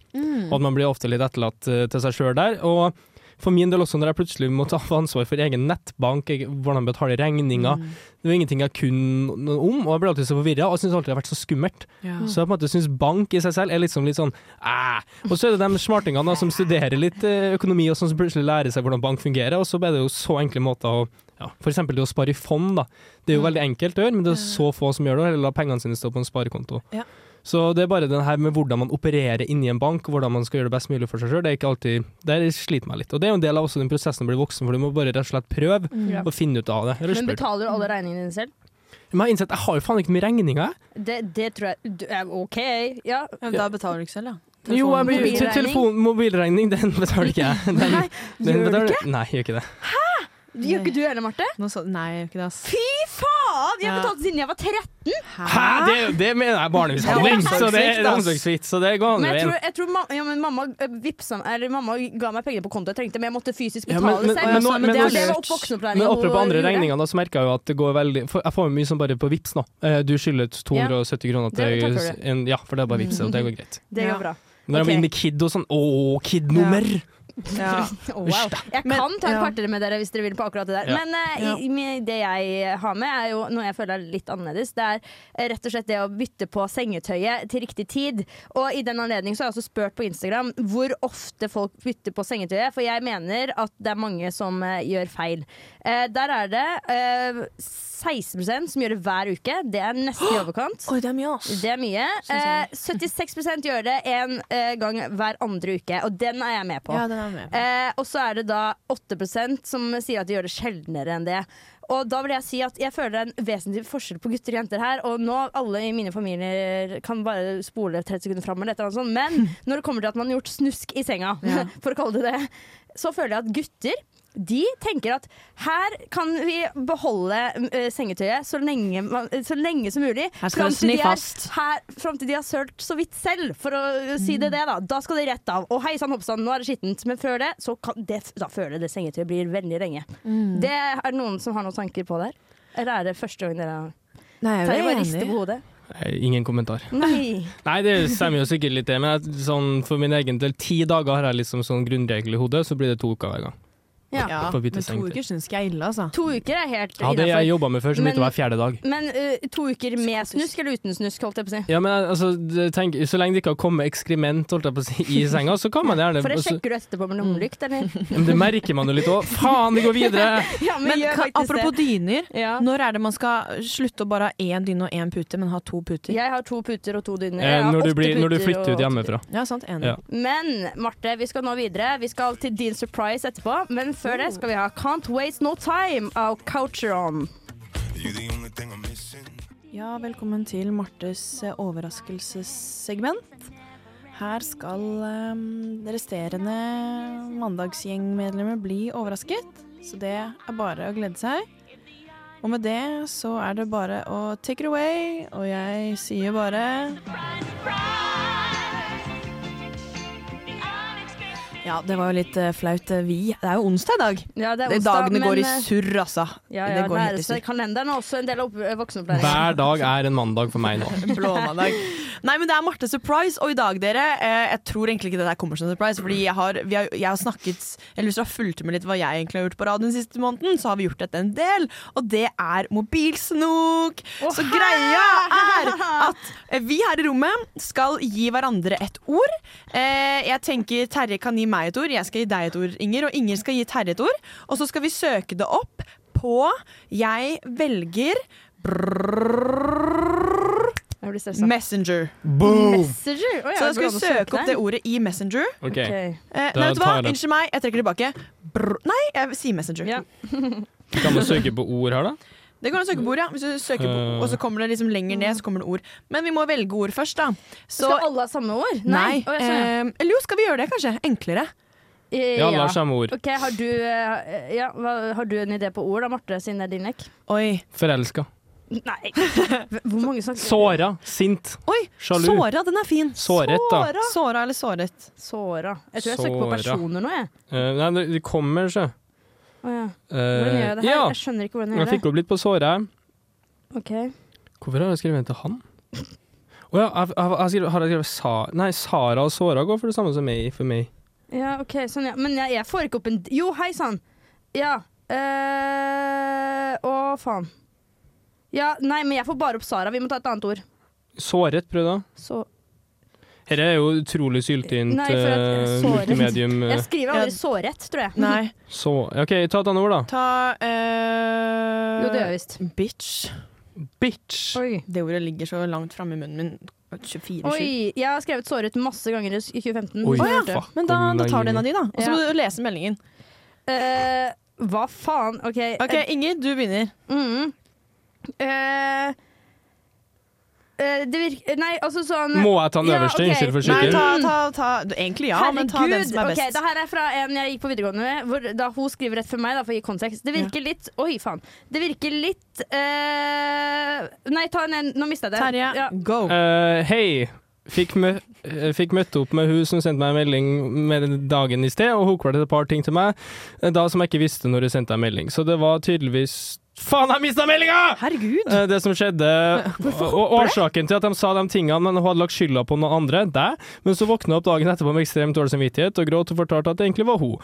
[SPEAKER 3] Og at man blir ofte litt etterlatt eh, til seg sjøl der. Og for min del også, når jeg plutselig må ta ansvar for egen nettbank, jeg, hvordan betale regninger Det var ingenting jeg kunne noe om, og jeg ble alltid så forvirra og jeg syns alltid det har vært så skummelt.
[SPEAKER 4] Ja.
[SPEAKER 3] Så jeg på en måte syns bank i seg selv er liksom litt sånn æh. Og så er det de smartingene da, som studerer litt eh, økonomi og sånn som plutselig lærer seg hvordan bank fungerer, og så er det jo så enkle måter å ja, for eksempel det å spare i fond, da. Det er jo veldig enkelt å gjøre, men det er så få som gjør det, eller la pengene sine stå på en sparekonto.
[SPEAKER 4] Ja.
[SPEAKER 3] Så det er bare den her med hvordan man opererer inni en bank, hvordan man skal gjøre det best mulig for seg sjøl, det er ikke alltid Der sliter meg litt. Og det er jo en del av også den prosessen å bli voksen, for du må bare rett og slett prøve
[SPEAKER 5] Ja.
[SPEAKER 3] og finne ut av det. Eller
[SPEAKER 5] Men
[SPEAKER 3] spør.
[SPEAKER 5] betaler du alle regningene dine selv?
[SPEAKER 3] Men jeg har innsett, jeg har jo faen ikke mye regninger, jeg.
[SPEAKER 5] Det, det tror jeg du, er OK. Ja.
[SPEAKER 4] Ja, men Da betaler du ikke selv, da.
[SPEAKER 3] Jo, jeg blir,
[SPEAKER 5] Mobilregning?
[SPEAKER 3] til telefon, mobilregning, den betaler ikke jeg. Den, Nei, den
[SPEAKER 5] gjør du
[SPEAKER 3] betaler, ikke? Nei, jeg gjør ikke det.
[SPEAKER 5] Gjør ikke du heller, Marte?
[SPEAKER 4] Nå så, nei, jeg gjør ikke det, ass.
[SPEAKER 5] Fy faen! Jeg
[SPEAKER 4] Ja.
[SPEAKER 5] betalte siden jeg var 13.
[SPEAKER 3] Hæ? Det, det mener jeg er barnemishandling,
[SPEAKER 4] Det er
[SPEAKER 3] så det er
[SPEAKER 4] omsorgssvikt, ass.
[SPEAKER 3] omsorgssvikt, så det går
[SPEAKER 5] altså. Men
[SPEAKER 3] andre
[SPEAKER 5] jeg
[SPEAKER 3] veien.
[SPEAKER 5] tror, jeg tror mamma, ja, men mamma, eh, vipsa, eller mamma ga meg pengene på konto jeg trengte, men jeg måtte fysisk
[SPEAKER 3] Ja,
[SPEAKER 5] betale
[SPEAKER 3] men- men-
[SPEAKER 5] selv.
[SPEAKER 3] men nå-
[SPEAKER 5] Så
[SPEAKER 3] men
[SPEAKER 5] det,
[SPEAKER 3] nå-
[SPEAKER 5] det var opp voksenopplæringen.
[SPEAKER 3] Men oppe på
[SPEAKER 5] hun
[SPEAKER 3] andre
[SPEAKER 5] gjorde.
[SPEAKER 3] regninger da, så merker jeg jo at det går veldig for Jeg får mye som bare på vips nå. Eh, Du skylder 270 kroner
[SPEAKER 5] Det
[SPEAKER 3] til
[SPEAKER 5] takler
[SPEAKER 3] en, Ja, for det er bare vips, og det går greit.
[SPEAKER 5] Det
[SPEAKER 4] Ja.
[SPEAKER 5] går bra.
[SPEAKER 3] Når jeg
[SPEAKER 5] Ok.
[SPEAKER 3] var inne i KID og sånn Å, KID-nummer!
[SPEAKER 4] Ja.
[SPEAKER 5] Å, wow. Jeg
[SPEAKER 4] Men-
[SPEAKER 5] kan ta et
[SPEAKER 4] ja.
[SPEAKER 5] kvarter med dere hvis dere vil på akkurat det der.
[SPEAKER 3] Ja.
[SPEAKER 5] Men eh, i, i- det jeg har med, er jo noe jeg føler er litt annerledes. Det er eh, rett og slett det å bytte på sengetøyet til riktig tid. Og i den anledning så har jeg også spurt på Instagram hvor ofte folk bytter på sengetøyet. For jeg mener at det er mange som eh, gjør feil. Eh, der er det eh, 16 som gjør det hver uke. Det er nesten i overkant.
[SPEAKER 4] Oi, det er mye, ass.
[SPEAKER 5] Det er mye. Eh, 76 gjør det en eh, gang hver andre uke, og den er jeg med på.
[SPEAKER 4] Ja, den er
[SPEAKER 5] Eh, og så er det da 8 som sier at de gjør det sjeldnere enn det. Og da vil jeg si at jeg føler en vesentlig forskjell på gutter og jenter her. Og nå alle i mine familier kan bare spole 30 sekunder fram, eller et eller annet sånt. Men når det kommer til at man har gjort snusk i senga, for å kalle det det, så føler jeg at gutter de tenker at her kan vi beholde eh, sengetøyet så lenge, man, så lenge som mulig.
[SPEAKER 4] Her skal
[SPEAKER 5] fram
[SPEAKER 4] det
[SPEAKER 5] til de
[SPEAKER 4] sny
[SPEAKER 5] er-
[SPEAKER 4] fast.
[SPEAKER 5] her, Fram til de har sølt så vidt selv, for å si
[SPEAKER 4] Mm.
[SPEAKER 5] det det, da. Da skal det rett av. Og hei sann, hoppsann, nå er det skittent. Men før det, så kan det, da føler jeg det sengetøyet blir veldig lenge.
[SPEAKER 4] Mm.
[SPEAKER 5] Det Er det noen som har noen tanker på det? her? Eller er det første gang dere har
[SPEAKER 4] Nei, jeg
[SPEAKER 5] Terje
[SPEAKER 4] er
[SPEAKER 5] bare rister på
[SPEAKER 4] enig.
[SPEAKER 5] hodet.
[SPEAKER 3] Nei, Ingen kommentar.
[SPEAKER 5] Nei.
[SPEAKER 3] Nei, det stemmer jo sikkert litt det, men jeg, sånn, for min egen del, ti dager har jeg liksom sånn grunnregel i hodet, så blir det to uker hver gang.
[SPEAKER 5] Ja.
[SPEAKER 4] Ja,
[SPEAKER 3] På
[SPEAKER 4] men
[SPEAKER 3] bytte
[SPEAKER 4] to
[SPEAKER 3] seng til.
[SPEAKER 4] uker syns jeg er ille, altså.
[SPEAKER 5] To uker er helt
[SPEAKER 3] Ja, det jeg
[SPEAKER 5] innafor.
[SPEAKER 3] jobba med før, som
[SPEAKER 5] Men-
[SPEAKER 3] begynte hver fjerde dag.
[SPEAKER 5] Men eh, to uker med snusk eller uten snusk, holdt jeg på å si.
[SPEAKER 3] Ja, men altså, det- tenk, så lenge det ikke har kommet ekskrement holdt jeg på å si, i senga, så kan man gjerne
[SPEAKER 5] For det
[SPEAKER 3] altså,
[SPEAKER 5] sjekker du etterpå med
[SPEAKER 4] Mm.
[SPEAKER 5] lommelykt, eller?
[SPEAKER 3] men Det merker man jo litt òg. Faen, det går videre!
[SPEAKER 5] Ja,
[SPEAKER 4] Men
[SPEAKER 5] gjør
[SPEAKER 4] ka,
[SPEAKER 5] faktisk det.
[SPEAKER 4] apropos dyner.
[SPEAKER 5] Ja.
[SPEAKER 4] Når er det man skal slutte å bare ha én dyne og én pute, men ha to puter?
[SPEAKER 5] Jeg har to puter og to dyner. Jeg
[SPEAKER 3] Eh,
[SPEAKER 5] har
[SPEAKER 3] når, du
[SPEAKER 5] åtte
[SPEAKER 3] blir, når du
[SPEAKER 5] puter
[SPEAKER 3] flytter
[SPEAKER 5] og-
[SPEAKER 3] ut hjemmefra.
[SPEAKER 4] Ja, sant. Enig.
[SPEAKER 3] Ja.
[SPEAKER 5] Men Marte, vi skal nå videre. Vi skal til din surprise etterpå. Men før det skal vi ha Can't Waste No Time av Coucheron.
[SPEAKER 6] Ja, velkommen til Martes eh, overraskelsessegment. Her skal eh, resterende mandagsgjengmedlemmer bli overrasket, så det er bare å glede seg. Og med det så er det bare å take it away, og jeg sier bare
[SPEAKER 4] Ja, det var jo litt eh, flaut. eh, Vi Det er jo onsdag i dag.
[SPEAKER 5] Ja, det
[SPEAKER 4] De dagene går i
[SPEAKER 5] eh,
[SPEAKER 4] surr, altså.
[SPEAKER 5] Ja, ja,
[SPEAKER 4] det går helt i surr.
[SPEAKER 5] Kalenderen er også en del av opp- voksenopplæringen.
[SPEAKER 3] Hver dag er en mandag for meg nå.
[SPEAKER 4] Blåmandag. Nei, men det er Marte Surprise, og i dag, dere eh, Jeg tror egentlig ikke det der kommer som en surprise, fordi jeg har, vi har, jeg har snakket Eller hvis du har fulgt med litt hva jeg egentlig har gjort på radioen den siste måneden, så har vi gjort dette en del, og det er mobilsnok. så greia er at eh, vi her i rommet skal gi hverandre et ord. Eh, jeg tenker Terje kan gi meg et ord, jeg skal gi deg et ord, Inger, og Inger skal gi Terje et ord. Og så skal vi søke det opp på Jeg velger
[SPEAKER 5] Jeg blir stressa.
[SPEAKER 4] Messenger.
[SPEAKER 5] Messenger? Å, ja,
[SPEAKER 4] Så da
[SPEAKER 5] går
[SPEAKER 4] skal vi
[SPEAKER 5] det an å
[SPEAKER 4] søke opp det ordet i Messenger.
[SPEAKER 3] Ok,
[SPEAKER 5] Ok.
[SPEAKER 4] Eh,
[SPEAKER 3] Da
[SPEAKER 4] nei, vet du hva?
[SPEAKER 3] tar jeg det.
[SPEAKER 4] Unnskyld meg, jeg trekker tilbake. Brr. Nei, jeg sier Messenger.
[SPEAKER 5] Ja.
[SPEAKER 3] Kan man søke på ord her, da?
[SPEAKER 4] Det går an å søke på ord, ja. Hvis du søker på,
[SPEAKER 3] Eh.
[SPEAKER 4] og så kommer det liksom lenger ned, så kommer det ord. Men vi må velge ord først, da. Så
[SPEAKER 5] Skal alle ha samme ord?
[SPEAKER 4] Nei.
[SPEAKER 5] Å, sånn, jeg skjønner.
[SPEAKER 4] eh, eller jo, skal vi gjøre det, kanskje? Enklere.
[SPEAKER 5] Eh,
[SPEAKER 3] Ja, Lars har med ord.
[SPEAKER 5] Ok, har du, eh, ja, hva- har du en idé på ord da, Marte, siden det er din lek?
[SPEAKER 4] Oi.
[SPEAKER 3] Forelska.
[SPEAKER 5] Nei. Hvor mange snakker
[SPEAKER 3] Såra. Sint.
[SPEAKER 4] Oi,
[SPEAKER 3] Sjalu.
[SPEAKER 4] Såra, den er fin.
[SPEAKER 3] Såret, da.
[SPEAKER 4] Såra. Såra eller såret.
[SPEAKER 5] Såra. Jeg tror jeg søker på
[SPEAKER 3] Såra.
[SPEAKER 5] personer nå, jeg.
[SPEAKER 3] Eh, nei, det- det kommer, sjø.
[SPEAKER 5] Å, ja. Hvordan gjør
[SPEAKER 3] Uh,
[SPEAKER 5] jeg det her?
[SPEAKER 3] ja.
[SPEAKER 5] Jeg skjønner ikke hvordan jeg
[SPEAKER 3] Jeg
[SPEAKER 5] gjør
[SPEAKER 3] fikk
[SPEAKER 5] det.
[SPEAKER 3] opp litt på såra.
[SPEAKER 5] Ok.
[SPEAKER 3] Hvorfor har jeg skrevet til han? Å ja, jeg, jeg, jeg skrev, har jeg skrevet Sa... Nei, Sara og Sora går for det samme som meg, for meg.
[SPEAKER 5] Ja, ok, sånn, ja. Men jeg, jeg får ikke opp en Jo, hei sann! Ja. eh, Å, faen. Ja, nei, men jeg får bare opp Sara. Vi må ta et annet ord.
[SPEAKER 3] Såret, prøv da.
[SPEAKER 5] Så
[SPEAKER 3] Dette er jo utrolig syltynt
[SPEAKER 5] Nei, for at-
[SPEAKER 3] eh,
[SPEAKER 5] såret.
[SPEAKER 3] multimedium. eh,
[SPEAKER 5] Jeg skriver aldri
[SPEAKER 4] ja.
[SPEAKER 5] sårett, tror jeg.
[SPEAKER 4] Nei,
[SPEAKER 3] Så OK, ta et annet ord, da.
[SPEAKER 4] ta eh,
[SPEAKER 5] Jo, det gjør jeg visst.
[SPEAKER 4] Bitch.
[SPEAKER 3] Bitch.
[SPEAKER 5] Oi.
[SPEAKER 4] Det ordet ligger så langt framme i munnen min. 24-7.
[SPEAKER 5] Oi. Jeg har skrevet såret masse ganger i 2015.
[SPEAKER 3] Oi,
[SPEAKER 5] Å, ja.
[SPEAKER 3] fuck.
[SPEAKER 4] Men da, da tar du en av de, da. Og så må
[SPEAKER 5] Ja.
[SPEAKER 4] du lese meldingen.
[SPEAKER 5] Eh, hva faen? OK.
[SPEAKER 4] Ok, Inger, du begynner.
[SPEAKER 5] eh, mm. Eh, eh, det virker Nei, altså sånn
[SPEAKER 3] Må jeg ta den
[SPEAKER 5] Ja,
[SPEAKER 3] øverste?
[SPEAKER 5] ok.
[SPEAKER 3] Unnskyld for
[SPEAKER 4] Nei,
[SPEAKER 3] skyting.
[SPEAKER 4] ta, ta, ta du, Egentlig ja, men ta den som er
[SPEAKER 5] ok,
[SPEAKER 4] best.
[SPEAKER 5] det her er fra en jeg gikk på videregående med. Hvor, da hun skriver rett for meg, da, for å gi kontekst. Det virker litt Oi, faen. Det virker litt eh, Nei, ta en en. Nå mista jeg det.
[SPEAKER 4] Terje,
[SPEAKER 5] Ja.
[SPEAKER 4] go.
[SPEAKER 3] Eh, Hei. Fikk, mø eh, fikk møtt opp med hun som sendte meg en melding med dagen i sted, og hooka til et par ting til meg eh, da som jeg ikke visste når hun sendte meg melding. Så det var tydeligvis Faen, jeg mista meldinga!
[SPEAKER 4] Herregud.
[SPEAKER 3] Eh, Det som skjedde Og årsaken til at de sa de tingene, men hun hadde lagt skylda på noen andre, deg, men så våkna jeg opp dagen etterpå med ekstremt dårlig samvittighet og gråt og fortalte at det egentlig var hun.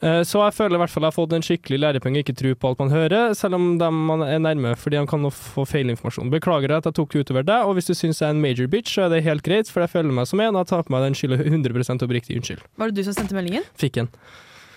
[SPEAKER 3] Eh, Så jeg føler i hvert fall jeg har fått en skikkelig lærepenge, ikke tro på alt man hører, selv om dem man er nærme, fordi de kan nå få feilinformasjon. Beklager at jeg tok det utover deg, og hvis du syns jeg er en major bitch, så er det helt greit, for jeg føler meg som en, og jeg tar på meg den skylda 100 oppriktig unnskyld.
[SPEAKER 4] Var det du som sendte meldingen?
[SPEAKER 3] Fikk en.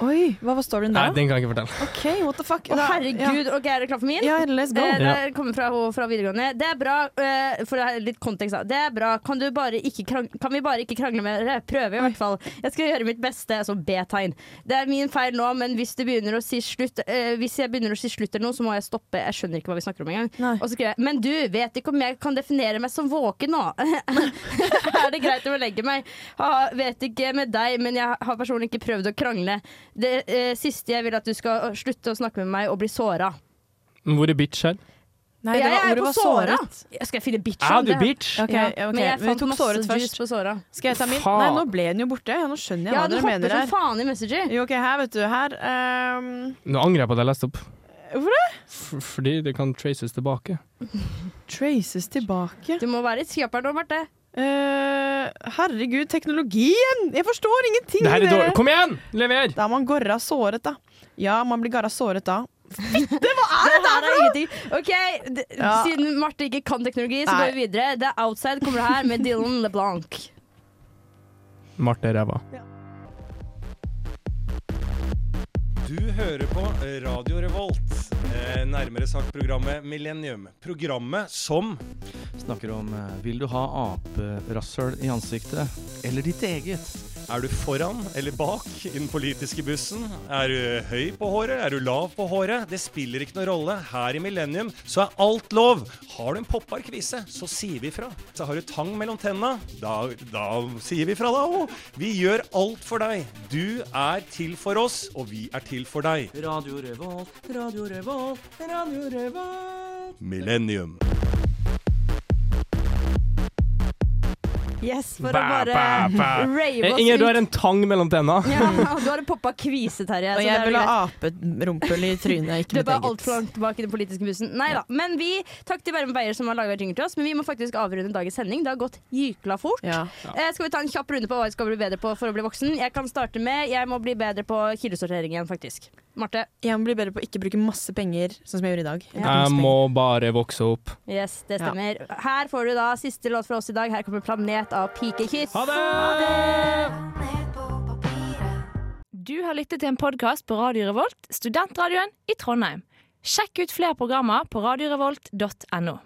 [SPEAKER 4] Å, Oi, hva var storyen
[SPEAKER 3] Nei,
[SPEAKER 4] der? da?
[SPEAKER 3] den kan jeg ikke fortelle.
[SPEAKER 4] OK, what the fuck?
[SPEAKER 5] Å,
[SPEAKER 4] Da-
[SPEAKER 5] herregud. Ok, er det klart for min?
[SPEAKER 4] Ja, ja let's go.
[SPEAKER 5] Eh,
[SPEAKER 3] Ja.
[SPEAKER 5] det kommer fra hun fra videregående. Det er bra, eh, for å ha litt kontekst da. Det er bra. Kan, du bare ikke krang kan vi bare ikke krangle mer? Prøve, i hvert fall. Jeg skal gjøre mitt beste. Altså B-tegn. Det er min feil nå, men hvis, du begynner å si slutt, eh, hvis jeg begynner å si slutt eller noe, så må jeg stoppe. Jeg skjønner ikke hva vi snakker om engang.
[SPEAKER 4] Nei.
[SPEAKER 5] Og så skriver jeg Men du, vet ikke om jeg kan definere meg som våken nå. er det greit å belegge meg? Ha, vet ikke med deg, men jeg har personlig ikke prøvd å krangle. Det eh, siste jeg vil at du skal slutte å snakke med meg og bli såra.
[SPEAKER 3] Men Hvor er bitch her?
[SPEAKER 4] Nei, det
[SPEAKER 5] Jeg
[SPEAKER 4] var
[SPEAKER 5] er
[SPEAKER 4] ordet
[SPEAKER 5] på
[SPEAKER 4] var
[SPEAKER 5] såra.
[SPEAKER 4] såret.
[SPEAKER 5] Jeg skal finne bitch.
[SPEAKER 3] Er
[SPEAKER 5] om
[SPEAKER 3] du
[SPEAKER 5] det.
[SPEAKER 3] bitch?
[SPEAKER 4] Ok,
[SPEAKER 5] Ja,
[SPEAKER 4] ja, ok.
[SPEAKER 5] Men jeg
[SPEAKER 4] Vi
[SPEAKER 5] fant
[SPEAKER 4] tok
[SPEAKER 5] masse
[SPEAKER 4] såret
[SPEAKER 5] juice
[SPEAKER 4] først.
[SPEAKER 5] på såra.
[SPEAKER 4] Skal jeg ta min?
[SPEAKER 3] Faen.
[SPEAKER 4] Nei, nå ble den jo borte. Ja, nå skjønner jeg
[SPEAKER 5] Ja,
[SPEAKER 4] hva
[SPEAKER 5] den
[SPEAKER 4] dere
[SPEAKER 5] hopper
[SPEAKER 4] mener
[SPEAKER 5] som
[SPEAKER 4] her.
[SPEAKER 5] faen i Messenger.
[SPEAKER 4] Jo, ok, her, vet du. Her ehm,
[SPEAKER 3] Nå angrer jeg på at jeg leste opp.
[SPEAKER 4] Hvorfor
[SPEAKER 3] det? fordi det kan traces tilbake.
[SPEAKER 4] traces tilbake.
[SPEAKER 5] Du må være litt kjappere nå, Marte.
[SPEAKER 4] Eh, herregud, teknologien! Jeg forstår ingenting!
[SPEAKER 3] Det her er
[SPEAKER 4] dere.
[SPEAKER 3] dårlig. Kom igjen! Lever!
[SPEAKER 4] Da er man gorra såret, da. Ja, man blir garra såret da.
[SPEAKER 5] Det her er ingenting. Ok, d
[SPEAKER 4] Ja.
[SPEAKER 5] Siden Marte ikke kan teknologi, så
[SPEAKER 4] Nei.
[SPEAKER 5] går vi videre. Det er Outside kommer det her med Dylan LeBlanc.
[SPEAKER 3] Marte er ræva.
[SPEAKER 9] Du hører på Radio Revolt, eh, nærmere sagt programmet Millennium. Programmet som snakker om eh, vil du ha aperasshøl i ansiktet eller ditt eget? Er du foran eller bak i den politiske bussen? Er du høy på håret? Er du lav på håret? Det spiller ikke noen rolle. Her i Millennium så er alt lov. Har du en popparkvise, så sier vi fra. Så har du tang mellom tenna, da, da sier vi fra da òg. Vi gjør alt for deg. Du er til for oss, og vi er til for deg. Radio Revolt, Radio Revolt, Radio Revolt. Millennium.
[SPEAKER 5] Yes, for å
[SPEAKER 3] Bæ,
[SPEAKER 5] bare
[SPEAKER 3] bæ, bæ.
[SPEAKER 5] rave
[SPEAKER 3] Eh,
[SPEAKER 5] oss
[SPEAKER 3] Inger, du har
[SPEAKER 5] ut.
[SPEAKER 3] en tang mellom tenna.
[SPEAKER 5] Ja, og du har en poppa kvise, Terje. så
[SPEAKER 4] Og
[SPEAKER 5] det
[SPEAKER 4] jeg
[SPEAKER 5] er
[SPEAKER 4] vil
[SPEAKER 5] greit.
[SPEAKER 4] ha aperumpel i trynet, ikke
[SPEAKER 5] Det
[SPEAKER 4] mitt
[SPEAKER 5] var altfor
[SPEAKER 4] eget.
[SPEAKER 5] langt bak i den politiske bussen. Nei da. Men vi, takk til Bærum Beyer som har laga jingle til oss, men vi må faktisk avrunde dagens sending. Det har gått jykla fort.
[SPEAKER 4] Ja.
[SPEAKER 5] Eh, skal vi ta en kjapp runde på hva jeg skal bli bedre på for å bli voksen? Jeg kan starte med jeg må bli bedre på kildesorteringen, faktisk. Marte.
[SPEAKER 4] Jeg må bli bedre på å ikke bruke masse penger, sånn som jeg gjorde i dag. Jeg brukte
[SPEAKER 3] Jeg
[SPEAKER 4] masse
[SPEAKER 3] må bare vokse opp.
[SPEAKER 5] Yes, det stemmer. Her får du da siste låt fra oss i dag. Her kommer 'Planet' av Pikekyss.
[SPEAKER 3] Ha det!
[SPEAKER 11] Du har lyttet til en podkast på Radio Revolt, studentradioen i Trondheim. Sjekk ut flere programmer på radiorevolt.no.